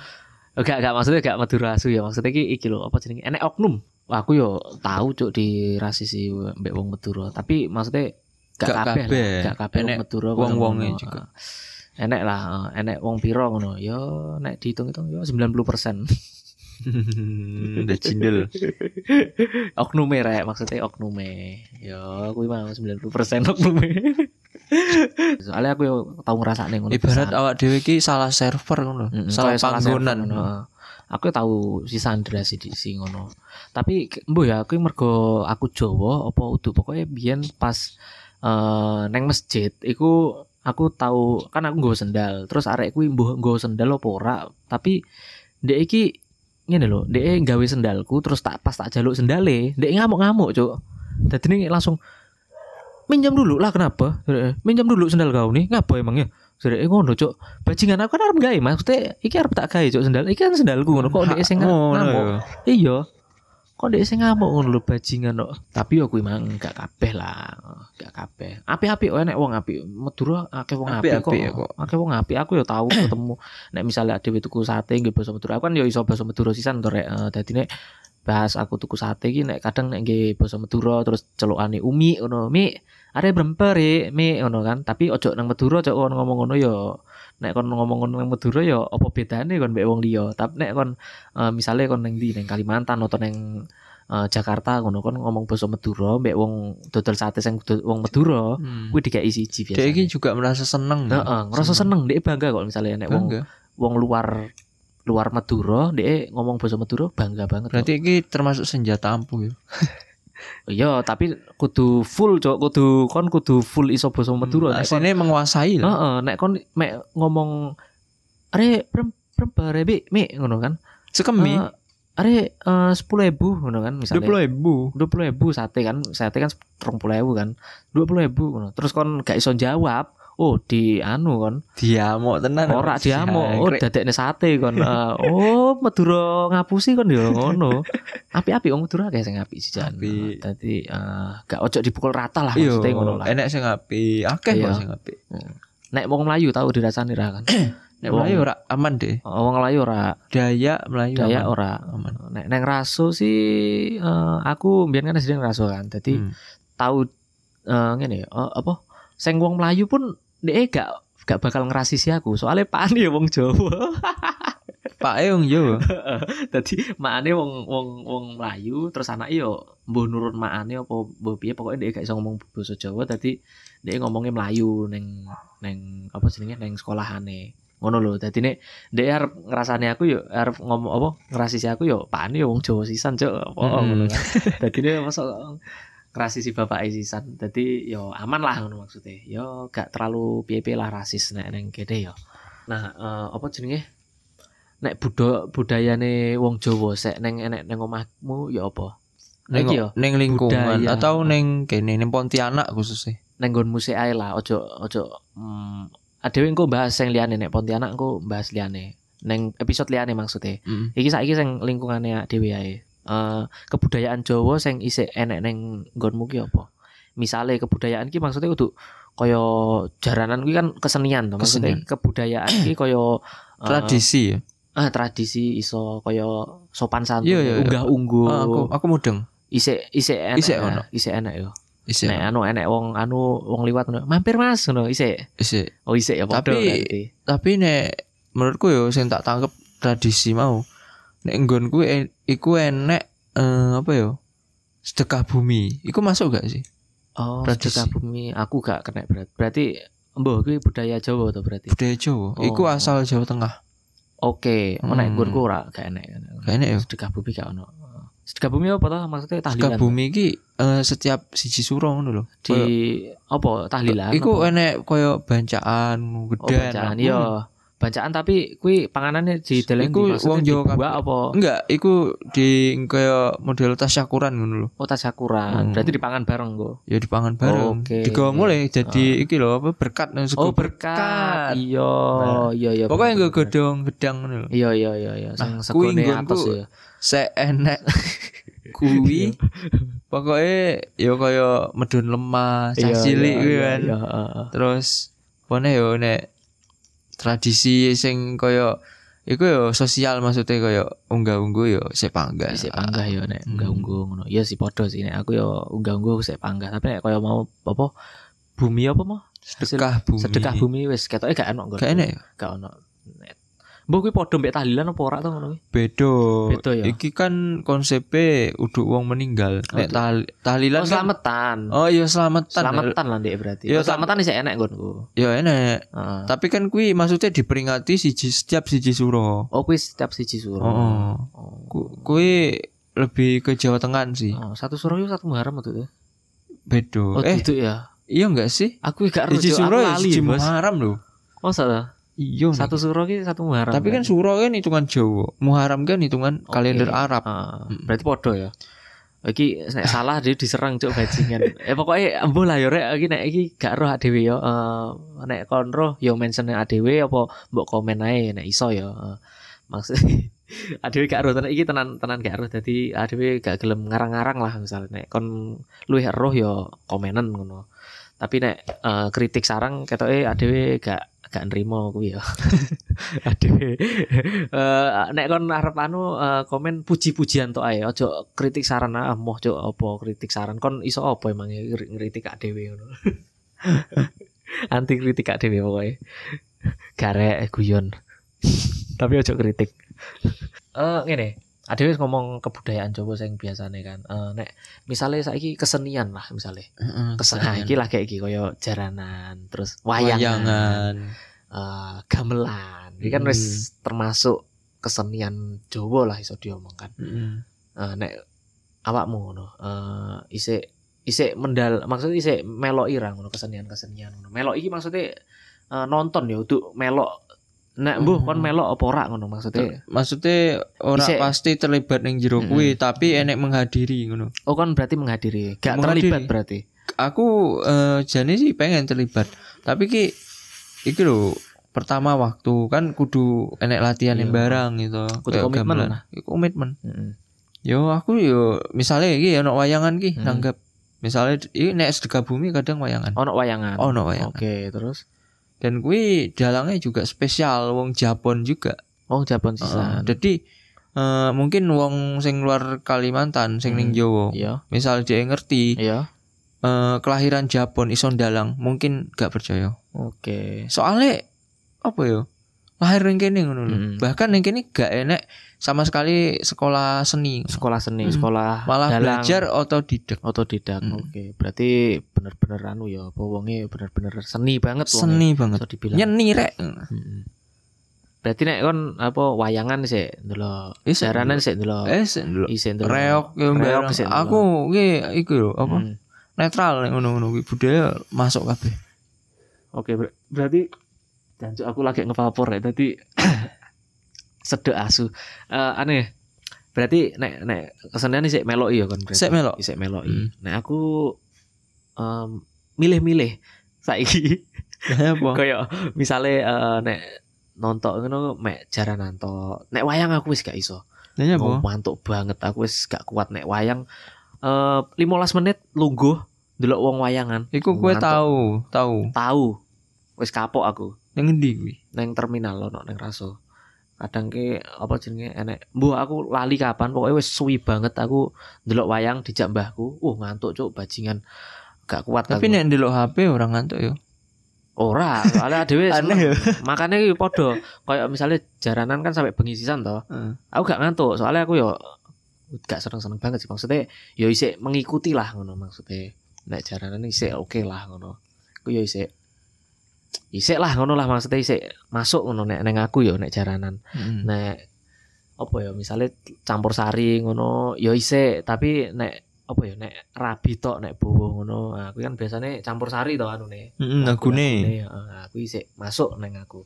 [SPEAKER 1] Oh, Gak gak maksudnya gak Madura asu ya. Maksudnya iki iki lho apa jenenge? Enek oknum. Wah, aku yo tahu cok dirasisi mbek wong Madura, tapi maksudnya gak
[SPEAKER 2] Gak
[SPEAKER 1] kabeh.
[SPEAKER 2] kabeh.
[SPEAKER 1] lah. Gak kabeh
[SPEAKER 2] Enek
[SPEAKER 1] wong Madura
[SPEAKER 2] wong-wonge
[SPEAKER 1] ngono.
[SPEAKER 2] juga.
[SPEAKER 1] Enek lah, eh, enek wong piro ngono. Yo nek dihitung-hitung yo 90%.
[SPEAKER 2] Udah cindel.
[SPEAKER 1] oknume rek, maksudnya oknume. Yo kuwi mah 90% oknume. Soalnya aku yo tau ngrasakne ngono.
[SPEAKER 2] Ibarat
[SPEAKER 1] pisan.
[SPEAKER 2] awak dhewe ki salah server ngono.
[SPEAKER 1] Mm-mm,
[SPEAKER 2] Salah
[SPEAKER 1] kayak
[SPEAKER 2] panggonan.
[SPEAKER 1] server, heeh. Aku tahu si Sandra sih di si ngono. Tapi ke- mbuh ya aku mergo aku Jawa apa udu pokoknya biyen pas eh, neng masjid iku aku tahu kan aku nggawa sendal. Terus arek kuwi mbuh nggawa sendal apa ora, tapi ndek iki ngene lho, ndek gawe sendalku terus tak pas tak jaluk sendale, ndek ngamuk-ngamuk, Cuk. Dadine langsung minjam dulu lah kenapa? Dereke, Minjam dulu sendal kau nih, ngapa emangnya? Dereke "Eh, ngono, Cuk bajingan aku kan arep gawe maksudnya iki arep tak gawe cuk sendal iki kan sendalku ngono kok ndek sing
[SPEAKER 2] Oh, Ngono
[SPEAKER 1] ngamuk
[SPEAKER 2] ya.
[SPEAKER 1] iya kok ndek sing ngamuk ngono lho bajingan kok tapi yo kuwi mang gak kabeh lah gak kabeh apik-apik oh nek wong apik Madura akeh wong apik kok
[SPEAKER 2] Apik-apik ya kok.
[SPEAKER 1] akeh wong apik aku yo tau ketemu nek misalnya dhewe tuku sate nggih basa Madura aku kan yo iso basa Madura sisan to rek Eh, dadi nek bahas aku tuku sate iki nek kadang nek nggih basa Madura terus celokane umi ngono mi are bremper e mi ngono kan tapi ojo nang Madura cok kon ngomong ngono yo nek kon ngomong ngono nang Madura yo apa bedane kon mbek wong liya tapi nek kon eh, misalnya kon neng di neng Kalimantan atau neng eh, Jakarta ngono kon ngomong basa Madura mbek wong dodol sate sing do- wong Madura
[SPEAKER 2] Hmm.
[SPEAKER 1] kuwi dikai siji biasa.
[SPEAKER 2] Dhek iki juga merasa
[SPEAKER 1] Hmm.
[SPEAKER 2] seneng.
[SPEAKER 1] Heeh, ngerasa seneng, dia bangga kok misalnya nek wong
[SPEAKER 2] Bangga.
[SPEAKER 1] wong luar luar Madura, dia ngomong basa Madura bangga banget.
[SPEAKER 2] Berarti iki termasuk senjata ampuh ya.
[SPEAKER 1] kok. iya, tapi kudu full cok, kudu kon kudu full iso basa Madura. Nek kon-
[SPEAKER 2] Asine Hmm, menguasai lah.
[SPEAKER 1] Heeh, nek kon mek ngomong are prem prem bare bi mi ngono kan.
[SPEAKER 2] Sekemi
[SPEAKER 1] Eh, are eh, sepuluh ribu ngono kan misalnya.
[SPEAKER 2] 20.000.
[SPEAKER 1] dua puluh ribu sate kan sate kan terong kan dua puluh ribu terus kon gak iso jawab oh di anu kon
[SPEAKER 2] Diamuk tenan.
[SPEAKER 1] ora diamuk oh
[SPEAKER 2] Jangkrik.
[SPEAKER 1] dadekne sate kon Eh, oh Madura ngapusi kon ya ngono apik-apik wong Madura kayak sing apik sisan
[SPEAKER 2] Apik.
[SPEAKER 1] dadi eh, gak ojo dipukul rata lah
[SPEAKER 2] Iya,
[SPEAKER 1] Ah, maksudnya ngono lah
[SPEAKER 2] enek sing apik, akeh
[SPEAKER 1] Iya.
[SPEAKER 2] kok sing apik.
[SPEAKER 1] nek wong Melayu tau dirasani ra kan
[SPEAKER 2] Nek
[SPEAKER 1] Wong-
[SPEAKER 2] Melayu ora aman deh.
[SPEAKER 1] Oh, wong Melayu ora
[SPEAKER 2] Dayak Melayu.
[SPEAKER 1] Dayak
[SPEAKER 2] aman.
[SPEAKER 1] ora
[SPEAKER 2] aman.
[SPEAKER 1] nek neng raso sih eh, aku mbiyen kan sering raso kan dadi oh,
[SPEAKER 2] Hmm.
[SPEAKER 1] tahu eh ngene ya, eh, apa sing wong Melayu pun dhek gak gak bakal ngerasisi aku soalnya pakane ya wong Jawa
[SPEAKER 2] Pak Eung yo.
[SPEAKER 1] dadi makane wong wong wong Melayu terus anake yo mbuh nurun makane apa mbuh piye pokoke dhek gak iso ngomong basa Jawa dadi dhek ngomongnya Melayu neng neng apa jenenge neng sekolahane ngono lho dadi nek dhek arep ngrasani aku yo arep ngomong apa ngrasisi aku yo pakane yo wong Jawa sisan cuk apa
[SPEAKER 2] Mm-mm.
[SPEAKER 1] ngono kan dadi nek masuk ngrasisi bapak e sisan dadi yo aman lah ngono maksudnya yo gak terlalu piye-piye lah rasis nek neng kene yo nah eh, apa jenenge nek budo budayane wong Jawa sek neng enek neng omahmu ya apa
[SPEAKER 2] Neng,
[SPEAKER 1] Iki yo.
[SPEAKER 2] neng lingkungan
[SPEAKER 1] budaya.
[SPEAKER 2] atau neng kene neng Pontianak khususnya.
[SPEAKER 1] neng nggon musik ae lah ojo ojo mm, adewe engko bahas yang liyane nek Pontianak engko bahas liyane neng episode liyane maksudnya
[SPEAKER 2] Mm.
[SPEAKER 1] iki saiki sing lingkungane dhewe ae. Eh, kebudayaan Jawa sing isih enek ning nggonmu ki apa? Misale kebudayaan ki maksudnya kudu kaya jaranan kuwi kan kesenian to maksudnya
[SPEAKER 2] Kesenian.
[SPEAKER 1] kebudayaan ki kaya eh,
[SPEAKER 2] Tradisi ya.
[SPEAKER 1] ah, tradisi iso kaya sopan santun,
[SPEAKER 2] Iya, iya, iya.
[SPEAKER 1] unggah ungguh.
[SPEAKER 2] Ah, aku aku mudeng.
[SPEAKER 1] Isih isih enek.
[SPEAKER 2] Isih
[SPEAKER 1] ya,
[SPEAKER 2] ono.
[SPEAKER 1] Isih enek yo.
[SPEAKER 2] Isi,
[SPEAKER 1] Nek anu enek wong anu wong liwat ngono. Mampir Mas ngono isih.
[SPEAKER 2] isi.
[SPEAKER 1] Oh isih ya padha
[SPEAKER 2] Tapi-
[SPEAKER 1] berarti.
[SPEAKER 2] Tapi nek menurutku yo sing tak tangkep tradisi mau. Nek nggonku e- iku enek eh, apa yo? Sedekah bumi. Iku masuk gak sih?
[SPEAKER 1] Oh,
[SPEAKER 2] tradisi.
[SPEAKER 1] sedekah bumi aku gak kena berat. Berarti mbuh kuwi budaya Jawa to berarti.
[SPEAKER 2] Budaya Jawa. Iku
[SPEAKER 1] Oh.
[SPEAKER 2] asal Jawa Tengah.
[SPEAKER 1] Oke, hmm.
[SPEAKER 2] Hmm.
[SPEAKER 1] nek nggonku ora gak enek.
[SPEAKER 2] Gak enek yo.
[SPEAKER 1] Sedekah bumi gak ono. Sedekah bumi apa toh maksudnya tahlilan?
[SPEAKER 2] Sedekah bumi iki eh, setiap siji suro ngono lho.
[SPEAKER 1] di apa tahlilan?
[SPEAKER 2] Iku
[SPEAKER 1] apa?
[SPEAKER 2] enek koyo bancaan
[SPEAKER 1] oh,
[SPEAKER 2] gedean.
[SPEAKER 1] bacaan iya. Bacaan tapi kuwi panganannya di deleng
[SPEAKER 2] Iku wong Jawa kabeh.
[SPEAKER 1] apa
[SPEAKER 2] Enggak, iku di koyo model tasyakuran ngono lho.
[SPEAKER 1] oh tasyakuran.
[SPEAKER 2] Hmm.
[SPEAKER 1] Berarti dipangan bareng go.
[SPEAKER 2] Ya dipangan bareng.
[SPEAKER 1] Oke. iya. Ah.
[SPEAKER 2] Digawa mulai jadi iki lho apa berkat nang
[SPEAKER 1] Oh,
[SPEAKER 2] sego
[SPEAKER 1] berkat. Iya,
[SPEAKER 2] Nah.
[SPEAKER 1] iya iya.
[SPEAKER 2] Pokoknya
[SPEAKER 1] bener,
[SPEAKER 2] nggo
[SPEAKER 1] bener.
[SPEAKER 2] gedong gedang ngono lho.
[SPEAKER 1] Iya iya iya iya. Sing
[SPEAKER 2] Nah, kuwi
[SPEAKER 1] sekone
[SPEAKER 2] nggonku-
[SPEAKER 1] atas ya.
[SPEAKER 2] Sek enek kuwi pokoknya ya koyo medun lemah, cah
[SPEAKER 1] Iya,
[SPEAKER 2] cilik
[SPEAKER 1] iya,
[SPEAKER 2] kuwi
[SPEAKER 1] iya,
[SPEAKER 2] kan.
[SPEAKER 1] iya, heeh.
[SPEAKER 2] Terus pone yo nek tradisi sing koyo iku yo sosial maksudnya koyo unggah-ungguh yo sik panggah.
[SPEAKER 1] Sik panggah ya nek
[SPEAKER 2] Hmm.
[SPEAKER 1] unggah ungguh ngono. Iya sih padha sih nek aku ya unggah ungguh sik panggah tapi nek kaya mau apa bumi apa mau
[SPEAKER 2] Sedekah bumi.
[SPEAKER 1] sedekah bumi wis ketoke gak enak
[SPEAKER 2] Gak enek ya?
[SPEAKER 1] Gak ono. Mbok kuwi padha mbek tahlilan apa ora to ngono kuwi?
[SPEAKER 2] Bedo.
[SPEAKER 1] Beda ya?
[SPEAKER 2] Iki kan konsepnya udah uang meninggal.
[SPEAKER 1] Oh,
[SPEAKER 2] Nek tahli- tahlilan
[SPEAKER 1] Oh,
[SPEAKER 2] kan-
[SPEAKER 1] Selamatan.
[SPEAKER 2] Oh iya selamatan.
[SPEAKER 1] Selamatan lah ndek berarti.
[SPEAKER 2] Iya,
[SPEAKER 1] Oh, selamatan isih enak nggonku.
[SPEAKER 2] Ya enek.
[SPEAKER 1] Heeh.
[SPEAKER 2] Tapi kan kui maksudnya diperingati siji setiap siji suro.
[SPEAKER 1] Oh, kuwi setiap siji suro.
[SPEAKER 2] Heeh.
[SPEAKER 1] Oh.
[SPEAKER 2] Ku- Kui lebih ke Jawa Tengah sih.
[SPEAKER 1] Oh, satu suro yo satu muharam itu.
[SPEAKER 2] Bedo.
[SPEAKER 1] Oh,
[SPEAKER 2] eh,
[SPEAKER 1] duduk ya.
[SPEAKER 2] iya enggak sih?
[SPEAKER 1] Aku gak rujuk
[SPEAKER 2] Siji
[SPEAKER 1] aku
[SPEAKER 2] suro ya
[SPEAKER 1] lali,
[SPEAKER 2] siji
[SPEAKER 1] Bos.
[SPEAKER 2] Muharram loh.
[SPEAKER 1] Masa ta?
[SPEAKER 2] Iya. Nek.
[SPEAKER 1] Satu suro ki satu muharam.
[SPEAKER 2] Tapi kan suro kan hitungan Jawa, Muharram kan hitungan
[SPEAKER 1] Oke.
[SPEAKER 2] kalender Arab.
[SPEAKER 1] Ah,
[SPEAKER 2] Mm.
[SPEAKER 1] berarti podo ya. Iki nek salah dia diserang cuk bajingan. eh pokoknya embo lah yo rek iki nek iki gak roh dhewe yo. Eh, nek kon roh yo mention dhewe apa mbok komen ae nek iso yo. Eh, maksud adewe gak roh tenan iki tenan tenan gak roh dadi adewe gak gelem ngarang-ngarang lah misalnya nek kon luwih roh yo komenan ngono. Tapi nek eh, kritik sarang ketoke adewe gak gak nrimo kuwi yo. adewe eh nek kon arep anu eh, komen puji-pujian tok ae ojo kritik saran ah moh cuk apa kritik saran kon iso apa emang ya, ngri- ngritik kak dhewe ngono anti kritik kak dhewe pokoke garek eh, guyon tapi ojo kritik eh ngene adewe wis ngomong kebudayaan Jawa sing biasane kan Eh, nek misale saiki kesenian lah misale
[SPEAKER 2] Heeh,
[SPEAKER 1] kesenian iki lah kayak iki kaya jaranan terus wayangan
[SPEAKER 2] Wayangan.
[SPEAKER 1] eh, gamelan. Ini
[SPEAKER 2] Hmm.
[SPEAKER 1] kan wis termasuk kesenian Jawa lah iso diomongkan.
[SPEAKER 2] Heeh.
[SPEAKER 1] Eh, nek awakmu ngono, eh isik isik mendal maksudnya isik melok ira ngono kesenian-kesenian ngono. Melok iki maksudnya eh, nonton ya untuk melok nek mbuh kon
[SPEAKER 2] Hmm.
[SPEAKER 1] melok apa ora ngono maksudnya.
[SPEAKER 2] Ter- Eh, maksudnya ora
[SPEAKER 1] Isek.
[SPEAKER 2] pasti terlibat ning jero
[SPEAKER 1] Mm-mm.
[SPEAKER 2] kuwi tapi enek menghadiri ngono.
[SPEAKER 1] Oh kon berarti menghadiri, gak
[SPEAKER 2] Menghadiri.
[SPEAKER 1] terlibat berarti.
[SPEAKER 2] Aku eh, jane sih pengen terlibat. Tapi ki iki lho pertama waktu kan kudu enek latihan
[SPEAKER 1] Iya.
[SPEAKER 2] barang gitu.
[SPEAKER 1] Kudu
[SPEAKER 2] Kayak
[SPEAKER 1] komitmen
[SPEAKER 2] gamelan.
[SPEAKER 1] lah.
[SPEAKER 2] Iya, komitmen.
[SPEAKER 1] Heeh.
[SPEAKER 2] Yo aku yo misalnya iki ya, ono wayangan ki
[SPEAKER 1] Mm.
[SPEAKER 2] nanggap. Misalnya iki nek sedekah bumi kadang wayangan.
[SPEAKER 1] Ono wayangan. Oh,
[SPEAKER 2] Ono
[SPEAKER 1] Oke,
[SPEAKER 2] wayangan.
[SPEAKER 1] terus
[SPEAKER 2] Dan kuwi dalangnya juga spesial wong Japon juga.
[SPEAKER 1] wong Oh, Jabon
[SPEAKER 2] Heeh.
[SPEAKER 1] sisan.
[SPEAKER 2] Jadi eh, mungkin wong sing luar Kalimantan sing ning
[SPEAKER 1] Hmm.
[SPEAKER 2] Jawa
[SPEAKER 1] Iya,
[SPEAKER 2] misal dia ngerti
[SPEAKER 1] iya.
[SPEAKER 2] eh, kelahiran Japon ison dalang mungkin gak percaya.
[SPEAKER 1] Oke.
[SPEAKER 2] Soalnya apa ya? Lahir ning kene ngono lho.
[SPEAKER 1] Mm.
[SPEAKER 2] Bahkan ning kene gak enek sama sekali sekolah seni.
[SPEAKER 1] Sekolah seni,
[SPEAKER 2] Hmm.
[SPEAKER 1] sekolah
[SPEAKER 2] Malah
[SPEAKER 1] dalang,
[SPEAKER 2] belajar otodidak.
[SPEAKER 1] otodidak.
[SPEAKER 2] Hmm.
[SPEAKER 1] Oke. Berarti bener-bener anu ya, apa wonge bener-bener seni banget wonge.
[SPEAKER 2] Seni banget.
[SPEAKER 1] Bisa dibilang.
[SPEAKER 2] Nyeni rek.
[SPEAKER 1] Mm-mm. Berarti nek kon apa wayangan sih ndelok.
[SPEAKER 2] Eh, seni.
[SPEAKER 1] Jaranan sih ndelok.
[SPEAKER 2] Eh, seni lho.
[SPEAKER 1] Isih ndelok.
[SPEAKER 2] Reok ya
[SPEAKER 1] Oh, Iya. Reok
[SPEAKER 2] bareng.
[SPEAKER 1] sih, ndelok.
[SPEAKER 2] Aku ki iku lho apa?
[SPEAKER 1] Hmm.
[SPEAKER 2] Netral nek ngono-ngono ki budaya masuk kabeh.
[SPEAKER 1] Oke, ber- berarti jancuk aku lagi ngevapor ya. Tadi sedek asu. Eh, aneh. Berarti nek nek kesenian sik melok ya kon berarti.
[SPEAKER 2] Sik melok.
[SPEAKER 1] Isek melok.
[SPEAKER 2] Hmm.
[SPEAKER 1] Nah aku em, milih-milih saiki
[SPEAKER 2] iya Apa?
[SPEAKER 1] koyo misale eh, nek nonton ngono mek jarang nonton. Nek wayang aku wis gak iso.
[SPEAKER 2] Nanya iya apa?
[SPEAKER 1] Oh, mantuk banget aku wis gak kuat nek wayang. Eh 15 menit lungguh delok wong wayangan.
[SPEAKER 2] Iku kue
[SPEAKER 1] Mantap.
[SPEAKER 2] tahu, tahu.
[SPEAKER 1] Tahu. Wis kapok aku.
[SPEAKER 2] Yang ngendi kuwi?
[SPEAKER 1] Neng terminal ono neng Raso. Kadang ke apa jenenge enek. Mbuh aku lali kapan pokoknya wis suwi banget aku ndelok wayang dijak mbahku. Uh ngantuk cuk bajingan. Gak kuat
[SPEAKER 2] Tapi
[SPEAKER 1] aku.
[SPEAKER 2] nek ndelok HP orang ngantuk yo.
[SPEAKER 1] Ora, soalnya dhewe seneng.
[SPEAKER 2] ya.
[SPEAKER 1] Makane iki padha koyo misalnya jaranan kan sampai bengi sisan to.
[SPEAKER 2] Heeh.
[SPEAKER 1] Aku gak ngantuk, soalnya aku yo gak seneng-seneng banget sih maksudnya yo isik mengikuti lah ngono maksudnya. Nek jaranan isik oke lah ngono. Aku yo isik isik lah ngono lah maksudnya isik masuk ngono nek neng aku yo nek jaranan.
[SPEAKER 2] Heeh.
[SPEAKER 1] nek apa ya misalnya campur sari ngono ya isik tapi nek apa ya nek rabi tok nek bowo ngono Nah, aku kan biasanya campur sari to anune
[SPEAKER 2] Heeh, lagune.
[SPEAKER 1] Lagune, heeh, ah, aku isik masuk neng aku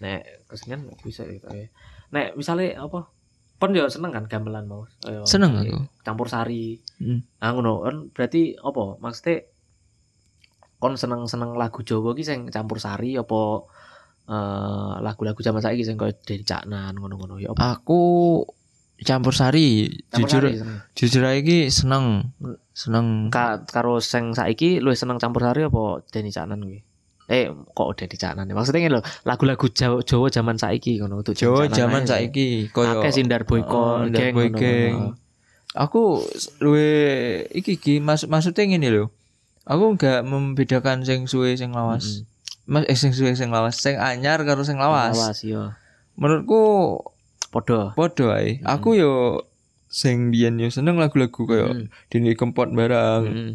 [SPEAKER 1] nek kesenian aku isik ya kayak. nek misalnya apa pon yo seneng kan gamelan mau Kayak-
[SPEAKER 2] Seneng aku.
[SPEAKER 1] campur sari
[SPEAKER 2] Hmm.
[SPEAKER 1] ah ngono kan berarti apa maksudnya kon seneng seneng lagu Jawa ki sing campur sari apa eh, lagu-lagu zaman saiki sing koyo Deni Caknan ngono-ngono ya apa
[SPEAKER 2] Aku campur sari,
[SPEAKER 1] Campur
[SPEAKER 2] Ah, jujur
[SPEAKER 1] sari seneng.
[SPEAKER 2] jujur aja ki seneng seneng
[SPEAKER 1] Ka, karo sing saiki luwih seneng campur sari apa Deni Caknan kuwi eh kok Deni Caknan ya? maksudnya ngene lho lagu-lagu Jawa, Jawa zaman saiki ngono untuk Deni
[SPEAKER 2] Jawa
[SPEAKER 1] Caknan
[SPEAKER 2] zaman
[SPEAKER 1] aja.
[SPEAKER 2] saiki koyo Oh,
[SPEAKER 1] akeh sindar boyko
[SPEAKER 2] Heeh, Indar Boy Gang. aku luwe iki ki mas maksudnya ngene lho. Aku nggak membedakan sing suwe sing lawas. Mas eh, sing suwe sing lawas, sing anyar karo sing
[SPEAKER 1] lawas lawas
[SPEAKER 2] lawas.
[SPEAKER 1] yo
[SPEAKER 2] Menurutku
[SPEAKER 1] iya. padha
[SPEAKER 2] Podo ae.
[SPEAKER 1] Mm.
[SPEAKER 2] Aku yo sing biyen yo seneng lagu-lagu koyo
[SPEAKER 1] Mm,
[SPEAKER 2] Dini Kempot barang.
[SPEAKER 1] mm,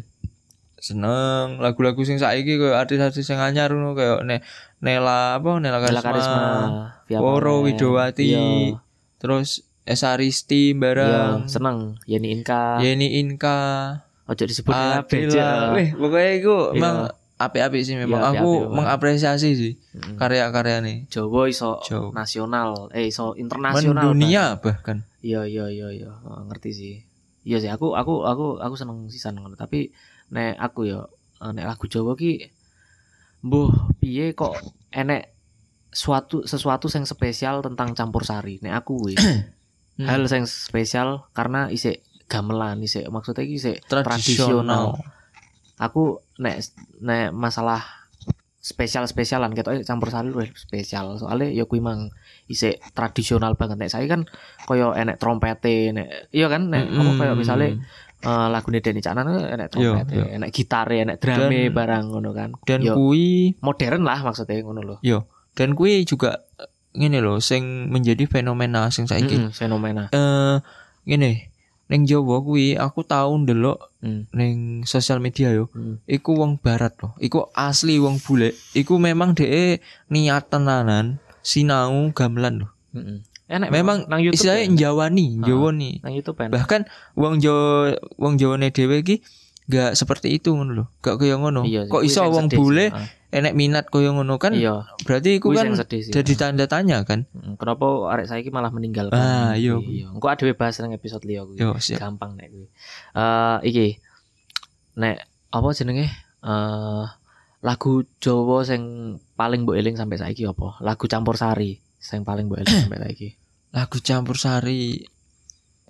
[SPEAKER 2] Seneng lagu-lagu sing saiki koyo artis-artis sing anyar ngono koyo ne Nela apa Nela Karisma.
[SPEAKER 1] Bella Karisma Via
[SPEAKER 2] Woro
[SPEAKER 1] Valen.
[SPEAKER 2] Widowati.
[SPEAKER 1] Iya.
[SPEAKER 2] Terus Esaristi
[SPEAKER 1] Iya,
[SPEAKER 2] barang.
[SPEAKER 1] seneng Yeni Inka.
[SPEAKER 2] Yeni Inka.
[SPEAKER 1] Ojo disebut ya
[SPEAKER 2] Adila. Wih, pokoknya iku
[SPEAKER 1] Iya.
[SPEAKER 2] emang apik-apik sih memang.
[SPEAKER 1] Iya,
[SPEAKER 2] aku
[SPEAKER 1] apik-apik banget.
[SPEAKER 2] mengapresiasi sih
[SPEAKER 1] Mm-mm.
[SPEAKER 2] karya-karya ini.
[SPEAKER 1] Jawa iso
[SPEAKER 2] Jawa.
[SPEAKER 1] nasional, eh iso internasional.
[SPEAKER 2] Mendunia bahkan.
[SPEAKER 1] Pak. Iya, iya, iya, iya. Oh, ngerti sih. Iya sih, aku aku aku aku seneng sisan ngono, tapi nek aku ya eh, nek lagu Jawa ki mbuh piye kok enek suatu sesuatu yang spesial tentang campur sari. Nek aku kuwi hal yang spesial karena isik gamelan, isik maksudnya iki isik
[SPEAKER 2] tradisional.
[SPEAKER 1] aku nek nek masalah spesial spesialan ketok campur sari luwih spesial soalnya ya kuwi mang isik tradisional banget nek saya kan koyo enek trompete nek iya kan nek apa koyo
[SPEAKER 2] Mm-mm.
[SPEAKER 1] misale eh, lagune Deni Caknan kan enek
[SPEAKER 2] Iya,
[SPEAKER 1] trompete
[SPEAKER 2] iya.
[SPEAKER 1] enek gitar enek drame
[SPEAKER 2] Dan-
[SPEAKER 1] barang ngono kan
[SPEAKER 2] dan
[SPEAKER 1] yo
[SPEAKER 2] kui
[SPEAKER 1] modern lah maksudnya ngono lho
[SPEAKER 2] dan kui juga ngene lho sing menjadi fenomena sing saiki. Eh
[SPEAKER 1] Mm-mm, fenomena
[SPEAKER 2] ngene, ning Jawa kui aku tau ndelok
[SPEAKER 1] Mm,
[SPEAKER 2] ning sosial media yo.
[SPEAKER 1] mm,
[SPEAKER 2] Iku wong barat loh. Iku asli wong bule. Iku memang dhek niat tenanan sinau gamelan loh.
[SPEAKER 1] mm-mm. enek
[SPEAKER 2] Memang
[SPEAKER 1] nang YouTube ya?
[SPEAKER 2] Istilahnya njawani, njawani.
[SPEAKER 1] nang YouTube enek
[SPEAKER 2] Bahkan wong Jawa wong Jawane dhewe iki gak seperti itu ngono lho. Gak kaya ngono.
[SPEAKER 1] Iya sih,
[SPEAKER 2] Kok
[SPEAKER 1] kuwi
[SPEAKER 2] iso
[SPEAKER 1] sing
[SPEAKER 2] wong
[SPEAKER 1] sedih sih.
[SPEAKER 2] bule
[SPEAKER 1] Ah,
[SPEAKER 2] enek minat kaya ngono kan?
[SPEAKER 1] iya
[SPEAKER 2] Berarti iku
[SPEAKER 1] kuwi
[SPEAKER 2] kan
[SPEAKER 1] sing sedih sih.
[SPEAKER 2] jadi tanda tanya kan?
[SPEAKER 1] Mm, Kenapa arek saiki malah meninggalkan?
[SPEAKER 2] Ah, iya.
[SPEAKER 1] Iya. Engko adewe bahas nang episode liya kuwi.
[SPEAKER 2] Yo, siap.
[SPEAKER 1] Gampang nek kuwi. Eh iki. Nek apa jenenge? Eh lagu Jawa sing paling mbok eling sampai saiki apa? Lagu campur sari sing paling mbok eling sampai saiki.
[SPEAKER 2] Lagu campur sari.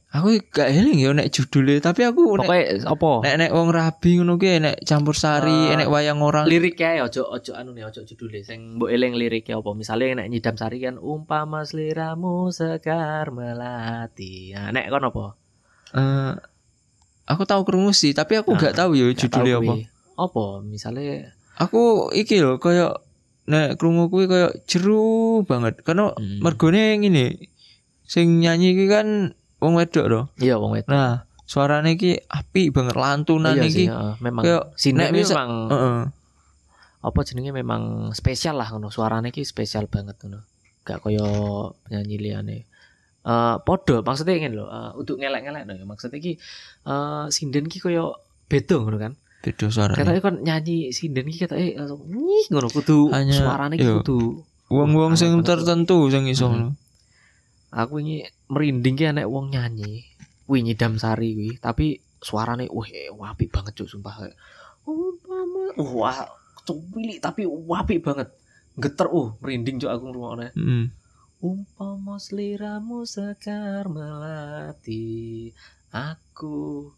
[SPEAKER 2] Aku gak eling ya nek judulnya, tapi aku nek
[SPEAKER 1] Pokoke apa?
[SPEAKER 2] nek, nek wong rabi ngono ki nek campur sari,
[SPEAKER 1] Ah.
[SPEAKER 2] nek wayang orang.
[SPEAKER 1] lirik ya ojo ojo anu nih ojo judulnya sing mbok eling liriknya apa misalnya nek nyidam sari kan umpama seliramu sekar melati nah, nek kon apa
[SPEAKER 2] Eh, aku tahu krungu sih, tapi aku
[SPEAKER 1] Nah,
[SPEAKER 2] gak tahu ya judulnya apa.
[SPEAKER 1] Apa misalnya
[SPEAKER 2] Aku iki lho koyo nek krungu kuwi koyo jeru banget. Karena
[SPEAKER 1] Hmm.
[SPEAKER 2] mergone ngene. Sing nyanyi iki kan wong wedok loh.
[SPEAKER 1] iya wong wedok.
[SPEAKER 2] Nah, suarane iki api banget lantunan
[SPEAKER 1] iya
[SPEAKER 2] iki.
[SPEAKER 1] sih, heeh. memang
[SPEAKER 2] kayak
[SPEAKER 1] sinetnya
[SPEAKER 2] nek misa-
[SPEAKER 1] memang
[SPEAKER 2] Heeh.
[SPEAKER 1] apa jenenge memang spesial lah ngono. Suarane iki spesial banget ngono. Gak kaya penyanyi liyane. Eh podo maksudnya ingin lho, eh, untuk ngelek-ngelek lho. Maksudnya iki eh sinden ki kaya beda ngono kan.
[SPEAKER 2] Beda suarane.
[SPEAKER 1] Katanya kan nyanyi sinden ki katanya eh, langsung nyih ngono kudu
[SPEAKER 2] Hanya,
[SPEAKER 1] suarane ki
[SPEAKER 2] iya.
[SPEAKER 1] kudu
[SPEAKER 2] Wong-wong sing
[SPEAKER 1] Aneh banget.
[SPEAKER 2] tertentu sing iso
[SPEAKER 1] Hmm.
[SPEAKER 2] ngono.
[SPEAKER 1] aku ini merinding ki anek wong nyanyi kuwi nyidam sari kuwi tapi suarane wah wapi banget cuk sumpah Kayak, "Oh, mama." wah cuwili tapi wapi banget geter uh merinding cuk aku ngrungokne
[SPEAKER 2] Heeh.
[SPEAKER 1] umpama seliramu sekar melati aku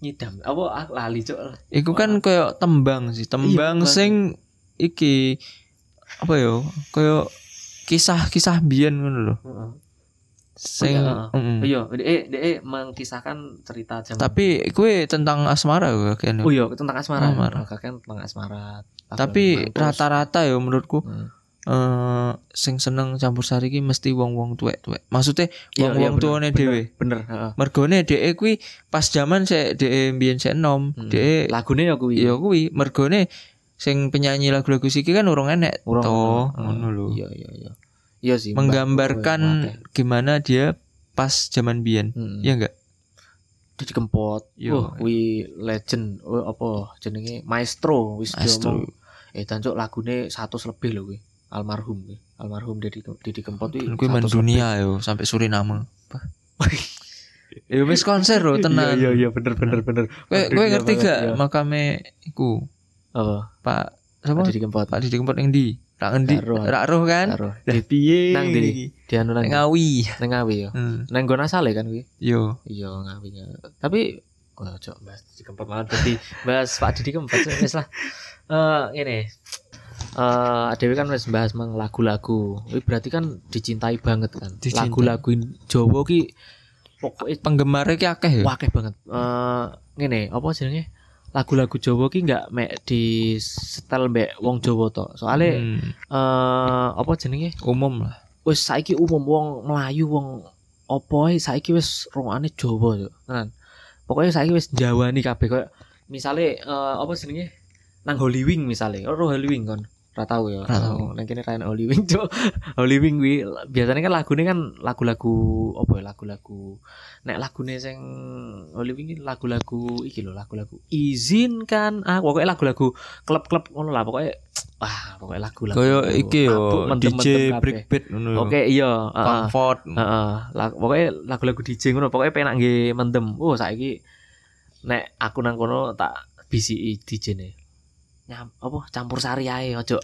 [SPEAKER 1] nyidam apa aku lali cuk
[SPEAKER 2] Iku kan koyo tembang sih, tembang
[SPEAKER 1] Iya,
[SPEAKER 2] sing iki apa yo? Koyo kisah-kisah biyen ngono lho.
[SPEAKER 1] Heeh.
[SPEAKER 2] Sing
[SPEAKER 1] Oh, Iya.
[SPEAKER 2] heeh.
[SPEAKER 1] iya dee dee mengkisahkan cerita zaman
[SPEAKER 2] Tapi kue tentang asmara gue kayaknya.
[SPEAKER 1] oh iya tentang asmara
[SPEAKER 2] Asmara.
[SPEAKER 1] Oh, kakek tentang asmara
[SPEAKER 2] Tapi
[SPEAKER 1] Mampus.
[SPEAKER 2] rata-rata ya menurutku
[SPEAKER 1] Hmm.
[SPEAKER 2] eh sing seneng campur sari ki mesti wong-wong tuwek-tuwek. Maksudnya
[SPEAKER 1] Iya,
[SPEAKER 2] wong-wong
[SPEAKER 1] bener,
[SPEAKER 2] tuane
[SPEAKER 1] bener,
[SPEAKER 2] dhewe.
[SPEAKER 1] Bener, heeh.
[SPEAKER 2] Mergone dhek kuwi pas jaman sik dhek mbiyen sik enom,
[SPEAKER 1] Hmm.
[SPEAKER 2] dhek
[SPEAKER 1] Lagune ya kuwi.
[SPEAKER 2] ya kuwi mergone sing penyanyi lagu-lagu siki kan urung enek
[SPEAKER 1] Urung,
[SPEAKER 2] to,
[SPEAKER 1] heeh.
[SPEAKER 2] ngono lho.
[SPEAKER 1] Iya, iya, iya. Iya sih. Mbak.
[SPEAKER 2] Menggambarkan
[SPEAKER 1] Wah, akeh.
[SPEAKER 2] gimana dia pas jaman biyen.
[SPEAKER 1] Mm.
[SPEAKER 2] Ya enggak?
[SPEAKER 1] Didi Kempot.
[SPEAKER 2] Iya.
[SPEAKER 1] Wah, kuwi legend. Wah, apa jenenge maestro wis
[SPEAKER 2] Astro.
[SPEAKER 1] diomong. Eh, jancuk lagune 100 lebih lho kuwi. Almarhum kuwi. Almarhum Didi, Didi Kempot kuwi.
[SPEAKER 2] Kan Kuwi men
[SPEAKER 1] 100
[SPEAKER 2] dunia yo sampai Suriname. Ya wis konser lho
[SPEAKER 1] lebih.
[SPEAKER 2] tenan.
[SPEAKER 1] Iya, iya, bener, bener, bener.
[SPEAKER 2] Kowe
[SPEAKER 1] Mendunia
[SPEAKER 2] kowe ngerti
[SPEAKER 1] banget,
[SPEAKER 2] gak
[SPEAKER 1] iya.
[SPEAKER 2] makame iku
[SPEAKER 1] Apa?
[SPEAKER 2] Pak
[SPEAKER 1] Pak
[SPEAKER 2] sapa?
[SPEAKER 1] Didi Kempot.
[SPEAKER 2] Pak Didi Kempot yang di Rak ngendi?
[SPEAKER 1] Rak Roh.
[SPEAKER 2] Rak Roh kan?
[SPEAKER 1] Karo
[SPEAKER 2] Lah piye?
[SPEAKER 1] Nang ndi? Dianu nang
[SPEAKER 2] Ngawi.
[SPEAKER 1] nang Ngawi ya.
[SPEAKER 2] Hmm.
[SPEAKER 1] Nang Gona Sale kan kuwi.
[SPEAKER 2] Yo.
[SPEAKER 1] Iya ngawi Tapi oh, cok bahas Didi Kempot malah berarti bahas Pak Didi Kempot cok, wis lah. Eh ini eh Dewi kan wis bahas mang lagu-lagu. Wih, berarti kan dicintai banget kan.
[SPEAKER 2] Dicintai.
[SPEAKER 1] Lagu-lagu in- Jawa ki pokoknya
[SPEAKER 2] Penggemarnya ki akeh ya.
[SPEAKER 1] wakeh banget. Eh ngene apa jenenge? Lagu-lagu Jawa ki nggak mek di setel mbek wong Jawa to. Soale eh
[SPEAKER 2] Hmm.
[SPEAKER 1] apa jenenge?
[SPEAKER 2] Umum lah.
[SPEAKER 1] wis saiki umum wong Melayu wong opo ae saiki wis rungokane Jawa yo. Tenan. Pokoke saiki wis Jawani kabeh koyo misale eh, apa jenenge nang Holy Wing misale. Ora Holy Wing kon. Ora tau ya.
[SPEAKER 2] Ora
[SPEAKER 1] Oh,
[SPEAKER 2] tau.
[SPEAKER 1] Nang kene ra enak Holy Wing, Cuk. Holy Wing kuwi biasanya kan lagune kan lagu-lagu apa ya lagu-lagu. Nek lagune sing Holy Wing iki lagu-lagu iki lho, lagu-lagu izinkan ah pokoke lagu-lagu klub-klub ngono lah pokoke wah pokoke lagu-lagu.
[SPEAKER 2] Koyo iki
[SPEAKER 1] mabuk,
[SPEAKER 2] yo
[SPEAKER 1] mentem-mentem
[SPEAKER 2] DJ
[SPEAKER 1] kabeh.
[SPEAKER 2] Breakbeat ngono yo.
[SPEAKER 1] Oke, Ah. iya, heeh.
[SPEAKER 2] Comfort.
[SPEAKER 1] Heeh, lag- pokoknya lagu-lagu DJ ngono, pokoknya penak nggih mendem. Oh, saiki nek aku nang kono tak BCI DJ ne. Nyam, apa campur sari ae ojo.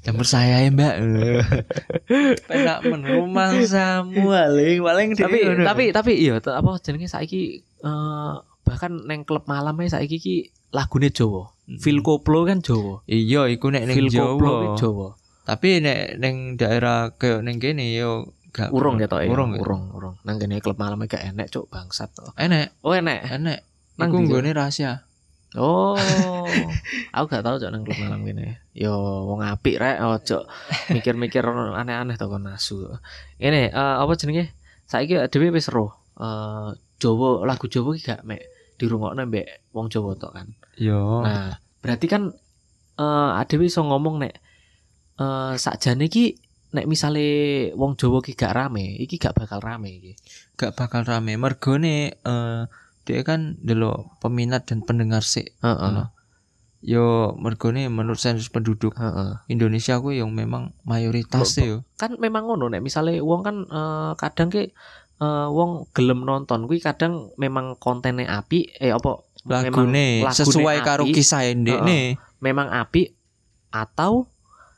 [SPEAKER 2] Campur saya ya, Mbak. Penak men rumah samu paling paling
[SPEAKER 1] Tapi tapi tapi iya te- apa jenenge saiki eh, bahkan neng klub malam ae saiki ki lagune Jawa. Phil Koplo kan Jawa.
[SPEAKER 2] iya iku Hmm. nek ning
[SPEAKER 1] Phil Koplo ki
[SPEAKER 2] Jawa.
[SPEAKER 1] Jawa.
[SPEAKER 2] Tapi nek ning daerah kayak ning kene yo gak
[SPEAKER 1] Urung ya toh. ya?
[SPEAKER 2] Urung. ya.
[SPEAKER 1] urung, urung. Nang kene klub malam ae gak enek cuk bangsat.
[SPEAKER 2] Enek,
[SPEAKER 1] Oh, enek.
[SPEAKER 2] enek.
[SPEAKER 1] Nang
[SPEAKER 2] Iku
[SPEAKER 1] ndi, Cuk?
[SPEAKER 2] nggone rahasia.
[SPEAKER 1] Oh, aku gak tahu cok nang klub malam gini. Yo, wong apik rek, ojo mikir-mikir aneh-aneh to kon asu. Ini eh, apa jenenge? Saiki dhewe wis roh. Eh Jawa, lagu Jawa ki gak mek dirungokno mbek wong Jawa tok kan.
[SPEAKER 2] Yo.
[SPEAKER 1] Nah, berarti kan eh adewe iso ngomong nek eh sakjane ki nek misale wong Jawa ki gak rame, iki gak bakal rame iki.
[SPEAKER 2] gak bakal rame mergone eh dia kan delok peminat dan pendengar sik
[SPEAKER 1] Heeh.
[SPEAKER 2] Ngono. yo mergone menurut sensus penduduk
[SPEAKER 1] Heeh.
[SPEAKER 2] Indonesia gue yang memang mayoritas sih yo
[SPEAKER 1] kan memang ngono nek misalnya wong kan eh, kadang ki eh, wong gelem nonton kuwi kadang memang kontennya api eh apa
[SPEAKER 2] lagune
[SPEAKER 1] lagune
[SPEAKER 2] sesuai karo
[SPEAKER 1] apik.
[SPEAKER 2] kisah ndek
[SPEAKER 1] Heeh.
[SPEAKER 2] ne
[SPEAKER 1] memang api atau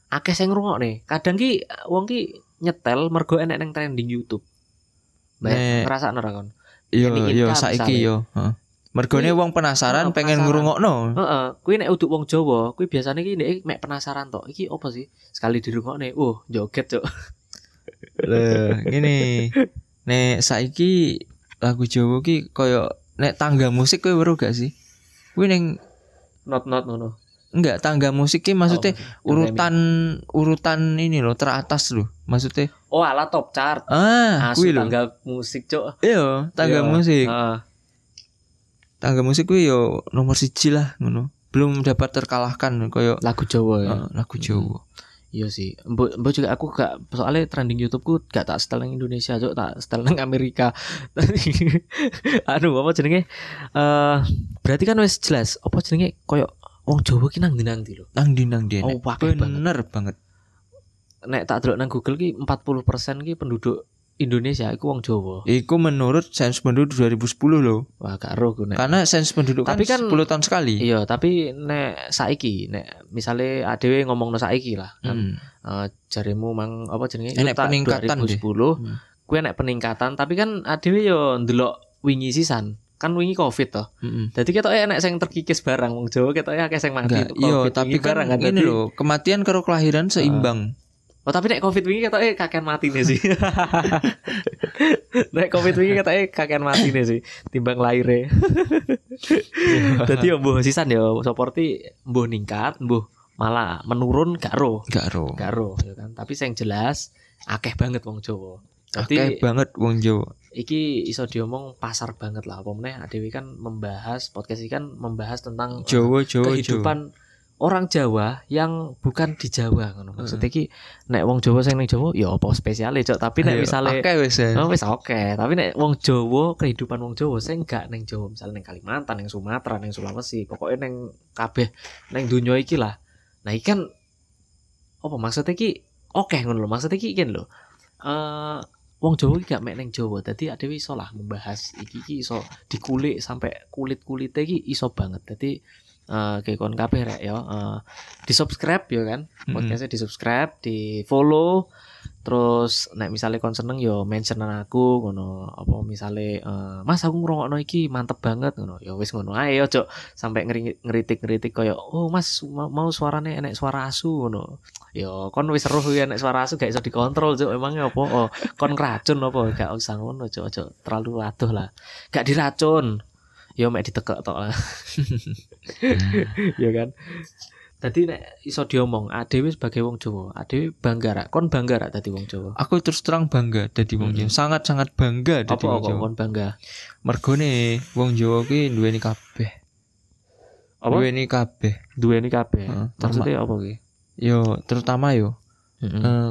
[SPEAKER 1] akeh sing ngrungokne kadang ki eh, wong ki nyetel mergo enek neng trending YouTube
[SPEAKER 2] Nek-
[SPEAKER 1] Mbak, ngerasa nora kon
[SPEAKER 2] yo
[SPEAKER 1] Ini
[SPEAKER 2] yo
[SPEAKER 1] income,
[SPEAKER 2] saiki
[SPEAKER 1] misalnya.
[SPEAKER 2] yo Heeh. mergone
[SPEAKER 1] Kuwi-
[SPEAKER 2] wong penasaran
[SPEAKER 1] Heeh, penasaran.
[SPEAKER 2] pengen ngrungokno
[SPEAKER 1] Heeh, kuwi nek uduk wong Jawa, kuwi biasane ki nek mek penasaran tok. Iki apa sih? Sekali dirungokne, oh, joget, Cuk.
[SPEAKER 2] Lah, ngene nek saiki lagu Jawa ki koyo nek tangga musik kowe weruh gak sih? Kuwi ning
[SPEAKER 1] not not ngono. Oh,
[SPEAKER 2] enggak tangga musik ki maksudnya urutan
[SPEAKER 1] gitu.
[SPEAKER 2] urutan ini loh teratas loh. Maksudnya
[SPEAKER 1] Oh, ala top chart.
[SPEAKER 2] ah
[SPEAKER 1] Asu
[SPEAKER 2] kuwi lho.
[SPEAKER 1] tangga musik, Cuk.
[SPEAKER 2] Iya, tangga
[SPEAKER 1] Iya.
[SPEAKER 2] musik.
[SPEAKER 1] Heeh.
[SPEAKER 2] Tangga musik kuwi yo nomor siji lah ngono. Belum dapat terkalahkan koyo
[SPEAKER 1] lagu Jawa ya.
[SPEAKER 2] eh, lagu Jawa.
[SPEAKER 1] Iya sih. Mbok mbok juga aku gak soalnya trending YouTube-ku gak tak setel nang Indonesia, Cuk, tak setel nang Amerika. Aduh, apa jenenge? Eh, berarti kan wis jelas apa jenenge koyo wong Jawa ki nang ndi-nang ndi lho.
[SPEAKER 2] Nang di nang di.
[SPEAKER 1] Oh,
[SPEAKER 2] nek.
[SPEAKER 1] wakil banget.
[SPEAKER 2] Bener banget.
[SPEAKER 1] Nek tak delok nang Google ki 40% ki penduduk Indonesia iku wong Jawa.
[SPEAKER 2] Iku menurut sensus penduduk 2010 loh.
[SPEAKER 1] Wah, gak roh gue nek.
[SPEAKER 2] Karena sensus penduduk
[SPEAKER 1] Tapi kan-
[SPEAKER 2] kan 10 tahun sekali.
[SPEAKER 1] Iya, tapi nek saiki, nek misale adewe ngomongno saiki lah, kan
[SPEAKER 2] Hmm.
[SPEAKER 1] Eh, jarimu mang apa jenenge?
[SPEAKER 2] Eh,
[SPEAKER 1] Itu
[SPEAKER 2] nek
[SPEAKER 1] tak
[SPEAKER 2] peningkatan
[SPEAKER 1] 2010.
[SPEAKER 2] deh. Hmm.
[SPEAKER 1] Kuwi nek peningkatan, tapi kan adewe yo ndelok wingi sisan. Kan wingi Covid toh.
[SPEAKER 2] Mm-mm.
[SPEAKER 1] Dadi ketoke enek sing terkikis barang wong Jawa ketoke akeh sing mati. itu
[SPEAKER 2] Enggak, iya,
[SPEAKER 1] Covid
[SPEAKER 2] tapi
[SPEAKER 1] wingi
[SPEAKER 2] kan
[SPEAKER 1] barang,
[SPEAKER 2] ini
[SPEAKER 1] Dadi-
[SPEAKER 2] loh, kematian karo kelahiran seimbang.
[SPEAKER 1] Oh, tapi nek Covid wingi ketoke kakean mati nih sih. nek Covid wingi ketoke kakean mati nih sih timbang lahirnya Dadi yo mbuh sisan yo seperti mbuh ningkat, mbuh malah menurun gak roh.
[SPEAKER 2] Enggak ro.
[SPEAKER 1] gak roh ya kan tapi sing jelas akeh banget wong Jawa
[SPEAKER 2] Akeh
[SPEAKER 1] tapi
[SPEAKER 2] banget wong Jawa.
[SPEAKER 1] iki iso diomong pasar banget lah apa meneh Adewi kan membahas podcast ini kan membahas tentang eh,
[SPEAKER 2] Jawa, Jawa, Jawa.
[SPEAKER 1] kehidupan orang Jawa yang bukan di Jawa ngono maksudnya iki nek wong Jawa sing ning Jawa ya apa spesiale cok tapi nek
[SPEAKER 2] Ayo,
[SPEAKER 1] misale
[SPEAKER 2] akeh wis. ya.
[SPEAKER 1] Oh, wis oke, tapi nek wong Jawa, kehidupan wong Jawa saya enggak neng Jawa, misalnya neng Kalimantan, neng Sumatera, neng Sulawesi, pokoknya neng kabeh neng dunia iki lah. Nah, iki kan apa maksudnya iki oke ngono lho, maksudnya iki kan lho. Eh wong Jawa iki gak mek neng Jawa, dadi ada iso lah membahas iki iki iso dikulik sampai kulit-kulite iki iso banget. Dadi eh kayak kon kabeh rek ya, eh di-subscribe ya kan
[SPEAKER 2] Mm-mm.
[SPEAKER 1] podcastnya di subscribe di follow terus nek misalnya kon seneng yo mention nang aku ngono apa misalnya eh, mas aku ngrungokno iki mantep banget ngono ya wis ngono ae yo cok sampai ngeritik ngeritik koyo oh mas ma- mau suarane enek suara asu ngono yo kon wis seru ya enek suara asu gak iso dikontrol cok emangnya apa oh kon racun apa gak usah ngono cok cok terlalu aduh lah gak diracun yo mek ditekek tok lah
[SPEAKER 2] Hmm.
[SPEAKER 1] ya kan tadi nek iso diomong adewe sebagai wong Jawa adewe bangga rak kon bangga rak tadi wong Jawa
[SPEAKER 2] Aku terus terang bangga dadi wong
[SPEAKER 1] Mm-mm.
[SPEAKER 2] Jawa. Sangat-sangat bangga
[SPEAKER 1] apa
[SPEAKER 2] dadi wong
[SPEAKER 1] apa
[SPEAKER 2] Jawa.
[SPEAKER 1] kon bangga
[SPEAKER 2] Mergone wong Jawa ki duweni kabeh.
[SPEAKER 1] Apa?
[SPEAKER 2] Duweni kabeh.
[SPEAKER 1] dua ini kabeh
[SPEAKER 2] Heeh,
[SPEAKER 1] maksudnya apa Hmm, ki
[SPEAKER 2] Yo, terutama yo
[SPEAKER 1] Mm.
[SPEAKER 2] eh,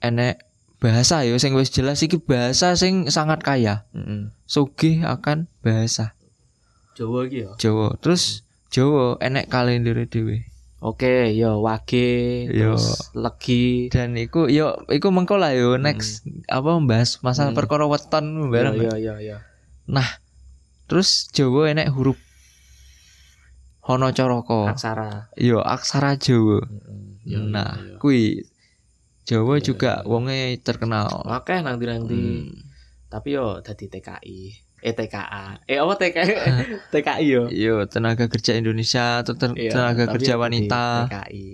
[SPEAKER 2] enek bahasa yo sing wis jelas iki bahasa sing sangat kaya.
[SPEAKER 1] Heeh.
[SPEAKER 2] Sugih akan bahasa
[SPEAKER 1] Jawa iki ya
[SPEAKER 2] Jawa. Terus Jawa enek kalender dhewe.
[SPEAKER 1] oke yo wage
[SPEAKER 2] Yo.
[SPEAKER 1] terus legi
[SPEAKER 2] dan iku yo iku mengko lah yo next
[SPEAKER 1] Mm.
[SPEAKER 2] apa membahas masalah
[SPEAKER 1] Hmm.
[SPEAKER 2] perkara weton bareng kan?
[SPEAKER 1] yo yo yo
[SPEAKER 2] terus Jawa enek huruf Hono Coroko
[SPEAKER 1] aksara Hmm,
[SPEAKER 2] yo aksara Jawa
[SPEAKER 1] Mm-mm. Yo,
[SPEAKER 2] nah
[SPEAKER 1] yo, yo.
[SPEAKER 2] kui Jawa
[SPEAKER 1] Iya,
[SPEAKER 2] juga
[SPEAKER 1] iya.
[SPEAKER 2] wonge terkenal
[SPEAKER 1] oke nanti nanti
[SPEAKER 2] Hmm.
[SPEAKER 1] tapi yo dadi TKI eh TKA eh apa TKI TKI yo
[SPEAKER 2] yo tenaga kerja Indonesia ter- ter-
[SPEAKER 1] Iya,
[SPEAKER 2] Ah. tenaga
[SPEAKER 1] tapi
[SPEAKER 2] kerja
[SPEAKER 1] yang
[SPEAKER 2] wanita
[SPEAKER 1] penting TKI.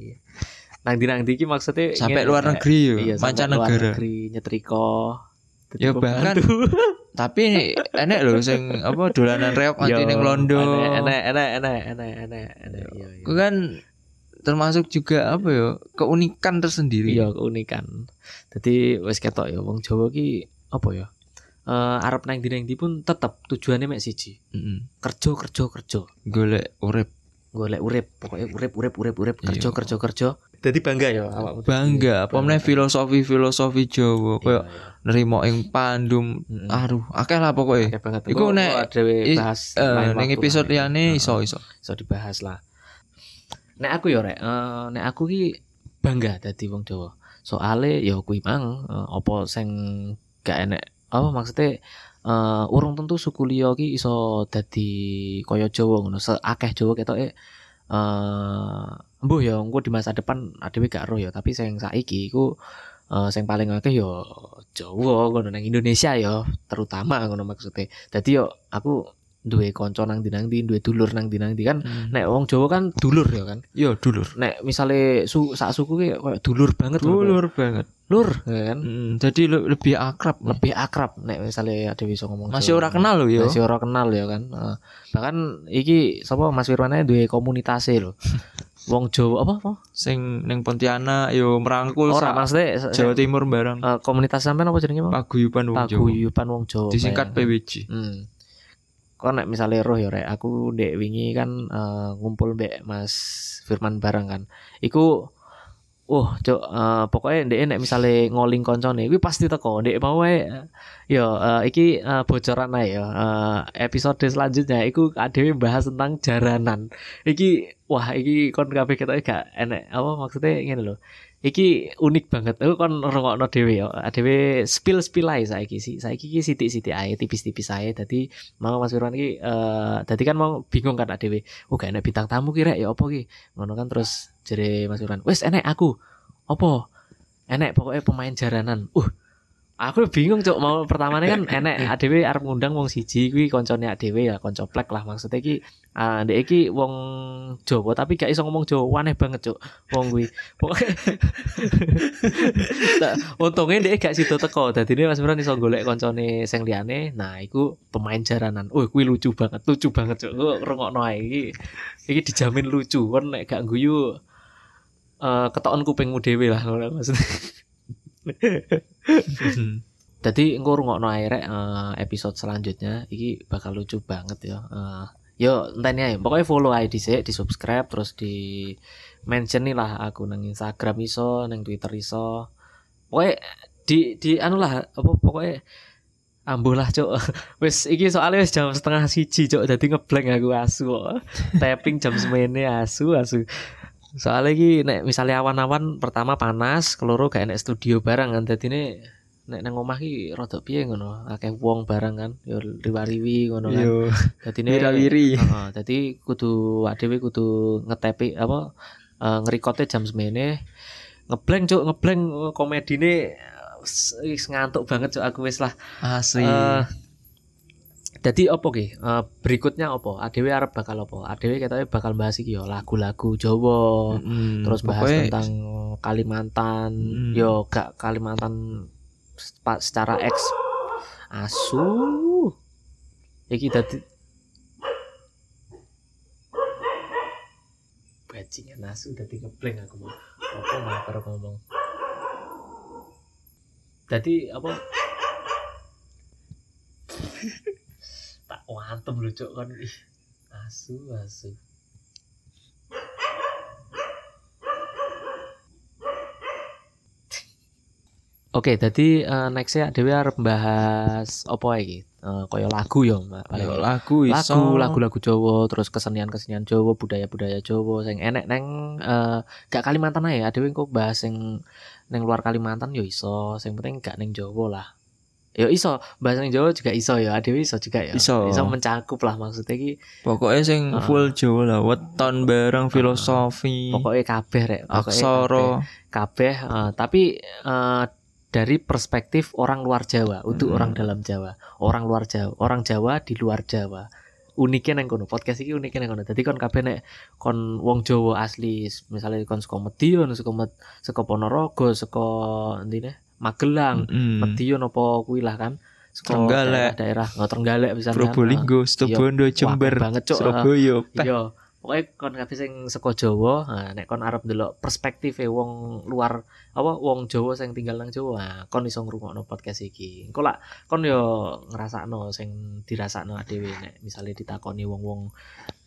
[SPEAKER 1] Nang di nang di iki maksudnya
[SPEAKER 2] sampai
[SPEAKER 1] ingin-
[SPEAKER 2] luar negeri yo
[SPEAKER 1] Iya, sampai luar
[SPEAKER 2] mancanegara
[SPEAKER 1] negeri nyetrika.
[SPEAKER 2] Ya,
[SPEAKER 1] Nyetrika
[SPEAKER 2] bahkan
[SPEAKER 1] pembantu.
[SPEAKER 2] tapi enek lho sing apa dolanan reok
[SPEAKER 1] Yo,
[SPEAKER 2] nanti ning Londo
[SPEAKER 1] Enak enak enak enak enak enak. Iya, iya.
[SPEAKER 2] Ku kan termasuk juga apa ya keunikan tersendiri
[SPEAKER 1] Iya, keunikan. Jadi wis ketok ya wong Jawa ki apa ya? Eh arep nang di nang di pun tetep tujuannya mek siji.
[SPEAKER 2] Mm-mm.
[SPEAKER 1] Kerja kerja kerja.
[SPEAKER 2] golek urip
[SPEAKER 1] Golek urip, pokoknya urip urip urip urip kerja
[SPEAKER 2] Iya.
[SPEAKER 1] kerja kerja. Jadi bangga ya awakmu.
[SPEAKER 2] bangga apa meneh filosofi filosofi Jawa
[SPEAKER 1] Iya,
[SPEAKER 2] koyo nerimo ing pandum
[SPEAKER 1] iya. Mm-mm.
[SPEAKER 2] aduh akeh lah pokoknya
[SPEAKER 1] Akeh banget.
[SPEAKER 2] Iku
[SPEAKER 1] Engko-
[SPEAKER 2] nek-
[SPEAKER 1] engko dhewe
[SPEAKER 2] i-
[SPEAKER 1] bahas
[SPEAKER 2] Eh,
[SPEAKER 1] lain
[SPEAKER 2] ning
[SPEAKER 1] waktu
[SPEAKER 2] episode
[SPEAKER 1] lah.
[SPEAKER 2] liyane
[SPEAKER 1] Heeh.
[SPEAKER 2] iso iso
[SPEAKER 1] iso dibahas lah. Nek aku yo rek, eh, nek aku ki bangga dadi wong Jawa. Soale yo kuwi mang eh, apa sing gak enek apa maksudnya eh urung tentu suku liya ki iso dadi kaya Jawa ngono. Seakeh Jawa ketoke eh mbuh ya engko di masa depan adewe gak ero ya, tapi sing saiki iku eh sing paling akeh yo ya, Jawa ngono nang Indonesia yo terutama ngono maksudnya. Dadi yo aku duwe kanca nang di nang di, duwe dulur nang di nang di kan.
[SPEAKER 2] Hmm.
[SPEAKER 1] Nek wong Jawa kan dulur ya kan.
[SPEAKER 2] Yo dulur.
[SPEAKER 1] Nek misale su, sak suku ki koyo dulur banget ngono.
[SPEAKER 2] Dulur banget.
[SPEAKER 1] Lur ya kan.
[SPEAKER 2] Hmm, jadi le- lebih akrab.
[SPEAKER 1] Lebih akrab nek misale ada bisa ngomong.
[SPEAKER 2] Masih
[SPEAKER 1] Jawa.
[SPEAKER 2] ora kenal loh yo.
[SPEAKER 1] Masih ora kenal ya kan. Heeh. bahkan iki sapa Mas Firman ae duwe komunitase lho. wong Jawa apa? apa?
[SPEAKER 2] Sing neng Pontianak yo merangkul
[SPEAKER 1] Ora
[SPEAKER 2] sak
[SPEAKER 1] maksudnya se-
[SPEAKER 2] Jawa Timur bareng.
[SPEAKER 1] eh, komunitas sampean apa jenenge, Pak?
[SPEAKER 2] Paguyuban wong Jawa.
[SPEAKER 1] paguyuban wong Jawa.
[SPEAKER 2] Disingkat
[SPEAKER 1] Pak, ya.
[SPEAKER 2] PWJ.
[SPEAKER 1] Hmm. Kok nek misalnya roh ya rek, aku dek wingi kan eh, ngumpul mbek Mas Firman bareng kan. Iku Uh, cok, eh, pokoknya ndek nek misale ngoling koncone kuwi pasti teko. Ndek mau wae eh, yo eh, iki eh, bocoran ae ya. Eh, episode selanjutnya iku adewe bahas tentang jaranan. Iki wah iki kon kabeh ketok gak enek apa maksudnya ngene lho. Iki unik banget. Aku kon rungokno dhewe ya. Dhewe spill-spill ae saiki sih. Saiki iki sithik-sithik ae, tipis-tipis ae. Dadi mau Mas Firman iki eh dadi kan mau bingung kan dhewe. Oh gak enek bintang tamu ki rek ya apa ki. Ngono kan terus jere Mas Firman, "Wis enek aku." Apa? Enek pokoknya pemain jaranan. Uh. Aku bingung cok mau pertamanya kan enek adewe arep ngundang wong siji kuwi koncone adewe ya konco plek lah maksudnya iki ah ndek iki wong Jawa tapi gak iso ngomong Jawa aneh banget cok wong kuwi pokoknya Tak, untungnya ndek gak sido teko dadine Mas Imran iso golek koncone sing liyane nah iku pemain jaranan oh kuwi lucu banget lucu banget cok Ku rungokno ae iki iki dijamin lucu kon nek gak guyu eh ketokan kupingmu dhewe lah ngono maksudnya Jadi engko rungokno ae rek eh, episode selanjutnya iki bakal lucu banget ya. Eh, yo enteni ae. Pokoknya follow ae dhisik, di-subscribe terus di mention lah aku nang Instagram iso, nang Twitter iso. Pokoknya di di anu lah apa pokoknya ambuh lah cok wis iki soalnya wis jam setengah siji cok jadi ngeblank aku asu kok. tapping jam semene asu asu soalnya iki nek misalnya awan-awan pertama panas keloro gak enek studio bareng kan jadi ini nek nang omah ki rada piye ngono akeh wong bareng kan yo riwa-riwi ngono kan
[SPEAKER 2] Yo,
[SPEAKER 1] dadi
[SPEAKER 2] wira-wiri.
[SPEAKER 1] Heeh, dadi kudu awak dhewe kudu ngetepi apa eh, ngerikote jam semene ngeblank cuk ngeblank eh, komedine eh, s- wis ngantuk banget cuk aku wis lah
[SPEAKER 2] Asli.
[SPEAKER 1] Eh, jadi opo ki Eh, berikutnya opo adewe arep bakal opo adewe katanya bakal bahas iki yo lagu-lagu Jawa
[SPEAKER 2] Mm,
[SPEAKER 1] terus bahas
[SPEAKER 2] pokoknya
[SPEAKER 1] tentang eh, Kalimantan
[SPEAKER 2] Hmm.
[SPEAKER 1] yo gak Kalimantan sepa- secara eks asu iki dadi bajingan asu dadi ngeblank aku mau apa mau karo ngomong dadi apa tak wantem lho cok kan Ih, asu asu Oke, jadi eh, nextnya Dewi harus membahas apa iki? Eh, kaya lagu ya, Mbak.
[SPEAKER 2] yo,
[SPEAKER 1] Paling-
[SPEAKER 2] lagu iso.
[SPEAKER 1] lagu lagu-lagu Jawa terus kesenian-kesenian Jawa budaya-budaya Jawa sing enek neng eh, gak Kalimantan ae ada engko bahas sing neng luar Kalimantan yo iso sing penting gak neng Jawa lah yo iso bahas neng Jawa juga iso ya ada iso juga ya
[SPEAKER 2] Iso.
[SPEAKER 1] mencakup lah maksudnya ki
[SPEAKER 2] Pokoknya sing
[SPEAKER 1] Ah.
[SPEAKER 2] full Jawa lah, weton bareng filosofi,
[SPEAKER 1] pokoknya kabeh rek Pokoknya kabeh.
[SPEAKER 2] Hmm. aksara.
[SPEAKER 1] kabeh eh, tapi eh, dari perspektif orang luar Jawa untuk
[SPEAKER 2] Hmm.
[SPEAKER 1] orang dalam Jawa orang luar Jawa orang Jawa di luar Jawa uniknya neng kono podcast ini uniknya neng kono jadi kon kabeh nek kon wong Jawa asli misalnya kon saka Medion saka Med, saka Ponorogo saka ndine Magelang
[SPEAKER 2] Mm.
[SPEAKER 1] Medion apa kuwi lah kan saka
[SPEAKER 2] Trenggalek.
[SPEAKER 1] daerah, daerah oh, Trenggalek bisa
[SPEAKER 2] Probolinggo, Situbondo,
[SPEAKER 1] Jember
[SPEAKER 2] Jember,
[SPEAKER 1] Iya, banget cok eh.
[SPEAKER 2] Surabaya. Peh.
[SPEAKER 1] Iya, pokoknya kon kabeh sing saka Jawa, nah, nek kon arep ndelok perspektife wong luar apa wong Jawa sing tinggal nang Jawa, nah, kon iso ngrungokno podcast iki. Engko lak kon yo ngrasakno sing dirasakno dhewe nek misale ditakoni wong-wong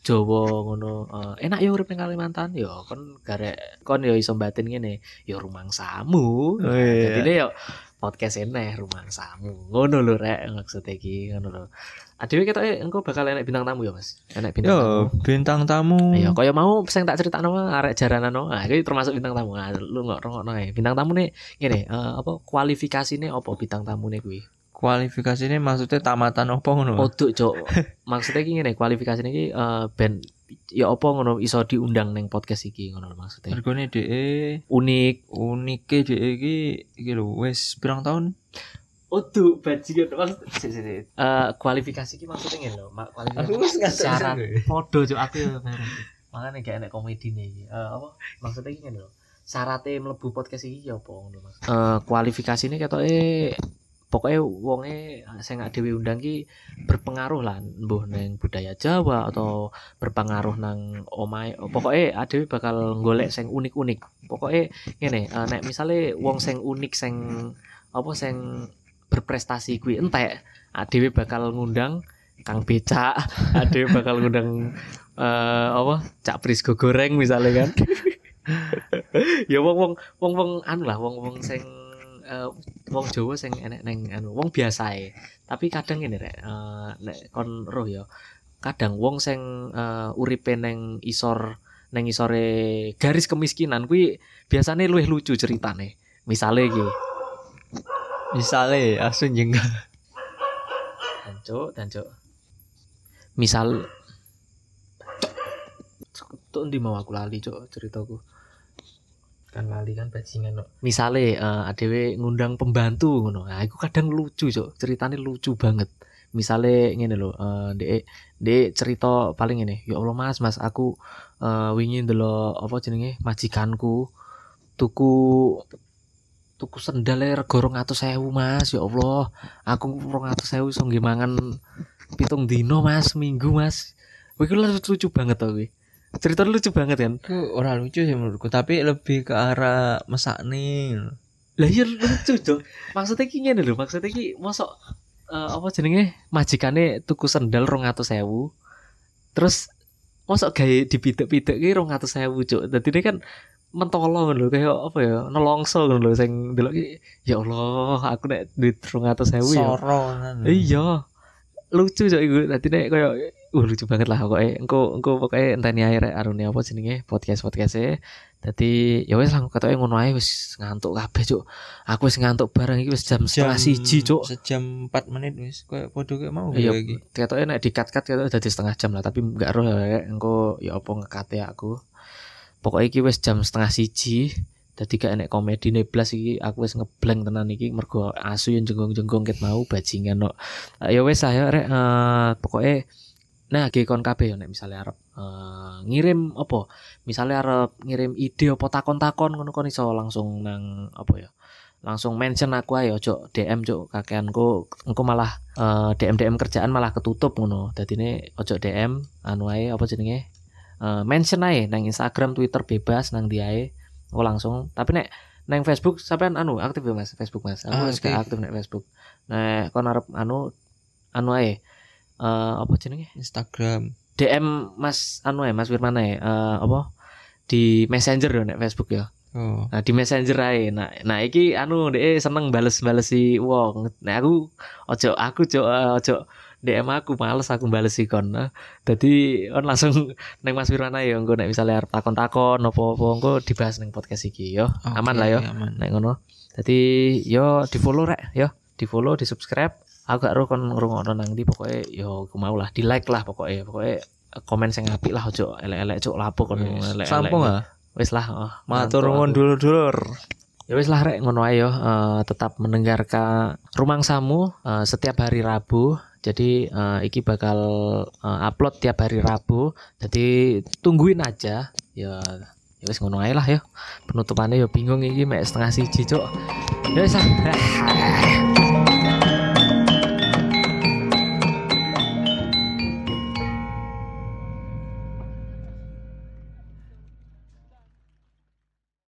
[SPEAKER 1] Jawa ngono eh, enak ya urip ning Kalimantan yo kon garek kon yo iso batin ngene yo rumangsamu.
[SPEAKER 2] Oh, iya.
[SPEAKER 1] Jadi yo podcast eneh rumangsamu. Ngono lho rek maksud iki ngono lho. Adewe ketok engko bakal enek bintang tamu ya Mas. Enek bintang tamu.
[SPEAKER 2] Yo, bintang tamu.
[SPEAKER 1] Ayo, kaya mau sing tak critakno mah arek jaranan no. Ah, iki termasuk bintang tamu. Ah, lu ngok rungokno ae. Bintang tamu nih ngene, eh, apa kualifikasine apa bintang tamune kuwi?
[SPEAKER 2] Kualifikasinya maksudnya tamatan opo ngono.
[SPEAKER 1] Kodok, Cok. Maksudnya iki ngene, kualifikasine iki eh, ben ya apa ngono iso diundang neng podcast iki ngono lho maksudnya.
[SPEAKER 2] Regane dhek
[SPEAKER 1] Unik.
[SPEAKER 2] E unike dhek iki iki lho wis pirang tahun?
[SPEAKER 1] Odu bajingan maksud sik, sik, sik. Eh, kualifikasi ki maksudnya ngene lho, mak kualifikasi.
[SPEAKER 2] wis ngantuk
[SPEAKER 1] Syarat.
[SPEAKER 2] pisan, Boy.
[SPEAKER 1] Podo cuk aku ya bareng. Makane gak enak komedi nih. Eh, apa maksudnya ki ngene lho. Syaratnya mlebu podcast iki ya apa ngono Mas? Eh, kualifikasine ketoke pokoknya wonge saya nggak dewi undang ki berpengaruh lah mbuh neng budaya Jawa atau berpengaruh nang omai pokoknya adewi bakal golek sing unik unik pokoknya ngene eh, nek misalnya wong sing unik sing apa sing berprestasi kuwi entek adewe bakal ngundang Kang Becak adewe bakal ngundang eh apa Cak Prisgo goreng misalnya kan ya wong wong wong wong anu lah wong wong sing eh, wong Jawa sing enek neng anu wong biasae tapi kadang ini rek eh, nek kon roh ya kadang wong sing eh, uripe neng isor neng isore garis kemiskinan kuwi biasanya luwih lucu ceritane misalnya gitu
[SPEAKER 2] Misale asun jenggot.
[SPEAKER 1] dan cuk dan cuk misal tuh di mau aku lali cuk ceritaku
[SPEAKER 2] Kan lali kan bajingan kok.
[SPEAKER 1] misale eh, adewe ngundang pembantu ngono nah iku kadang lucu cuk ceritane lucu banget misale ngene lho eh dek dek cerita paling ngene ya Allah Mas Mas aku eh wingi ndelok apa jenenge majikanku tuku tuku sendale rego 200.000 Mas ya Allah aku 200.000 iso nggih mangan pitung dino Mas minggu Mas Wih, iku lucu, lucu banget tau kuwi. Ceritanya lucu banget kan?
[SPEAKER 2] Itu ora lucu sih menurutku, tapi lebih ke arah mesakne.
[SPEAKER 1] Lah iya lucu dong. Maksudnya ki ngene lho, maksudnya ki mosok eh, apa jenenge majikane tuku sendal 200.000. Terus mosok gawe dipitek-pitek ki 200.000, Cuk. Dadi ini kan mentolo ngono lho, kayak apa ya, nelongso ngono lho sing delok ki ya Allah, aku nek duit 200.000 ya.
[SPEAKER 2] Soro kan.
[SPEAKER 1] Iya. Lucu cok iku. Dadi nek koyo uh lucu banget lah pokoke. Engko engko pokoke enteni ae rek arune apa jenenge podcast-podcast e. Dadi ya wis lah ketoke ngono ae wis ngantuk kabeh cok. Aku wis ngantuk bareng iki wis jam setengah siji cok.
[SPEAKER 2] Sejam 4 menit wis koyo padha koyo mau
[SPEAKER 1] Oh, Iya,
[SPEAKER 2] iki.
[SPEAKER 1] ketoke nek dikat-kat ketoke dadi setengah jam lah, tapi enggak roh ya, engko ya apa ngekate aku. Pokoke iki wis jam setengah siji, dadi gak enek komedi nih blas iki aku wis ngeblank tenan iki mergo asu yang jenggong-jenggong ket mau bajingan no. Eh, Ya wis ayo rek eh, pokoke nah ge kon kabeh ya nek misale arep eh, ngirim apa? Misale arep ngirim ide apa takon-takon ngono kon iso langsung nang apa ya? langsung mention aku ayo cok DM cok kakeanku engko malah eh, DM DM kerjaan malah ketutup ngono dadi ini ojo DM anu ae apa jenenge Eh, mention ae nang Instagram Twitter bebas nang dia ae engko langsung tapi nek nang Facebook sampean anu aktif ya Mas Facebook Mas aku
[SPEAKER 2] Ah,
[SPEAKER 1] wis gak
[SPEAKER 2] aktif.
[SPEAKER 1] aktif nek Facebook nek kon arep anu anu ae eh, apa jenenge
[SPEAKER 2] Instagram.
[SPEAKER 1] DM Mas anu ae Mas Firman ae eh, apa di Messenger ya nek Facebook ya
[SPEAKER 2] Oh.
[SPEAKER 1] Nah di messenger ae. Nah, nah iki anu dhek seneng bales-balesi wong. Nah aku ojo aku cok eh, ojo DM aku males aku balesi kon. Nah, Dadi on langsung neng Mas Wirwana ya engko nek misale arep takon-takon apa-apa engko dibahas neng podcast iki yo. Aman lah, ya. yo.
[SPEAKER 2] Aman.
[SPEAKER 1] Nek ngono. Dadi yo di-follow rek yo, di-follow, di-subscribe. Aku gak roh kon ngrungokno nang ndi pokoke yo aku mau lah di-like lah pokoke. Pokoke komen sing apik lah ojo elek-elek cuk lapo kon elek-elek. ya.
[SPEAKER 2] Sampung ah.
[SPEAKER 1] Wis lah. oh, ngantuk
[SPEAKER 2] Matur
[SPEAKER 1] aku.
[SPEAKER 2] nuwun dulur-dulur.
[SPEAKER 1] Ya wis lah rek ngono ayo tetap mendengarkan Rumang Samu eh, setiap hari Rabu. Jadi eh, iki bakal eh, upload tiap hari Rabu. Jadi tungguin aja ya ya wis ngono ae lah ya. Penutupannya ya bingung iki mek setengah siji cuk. Ya wis lah.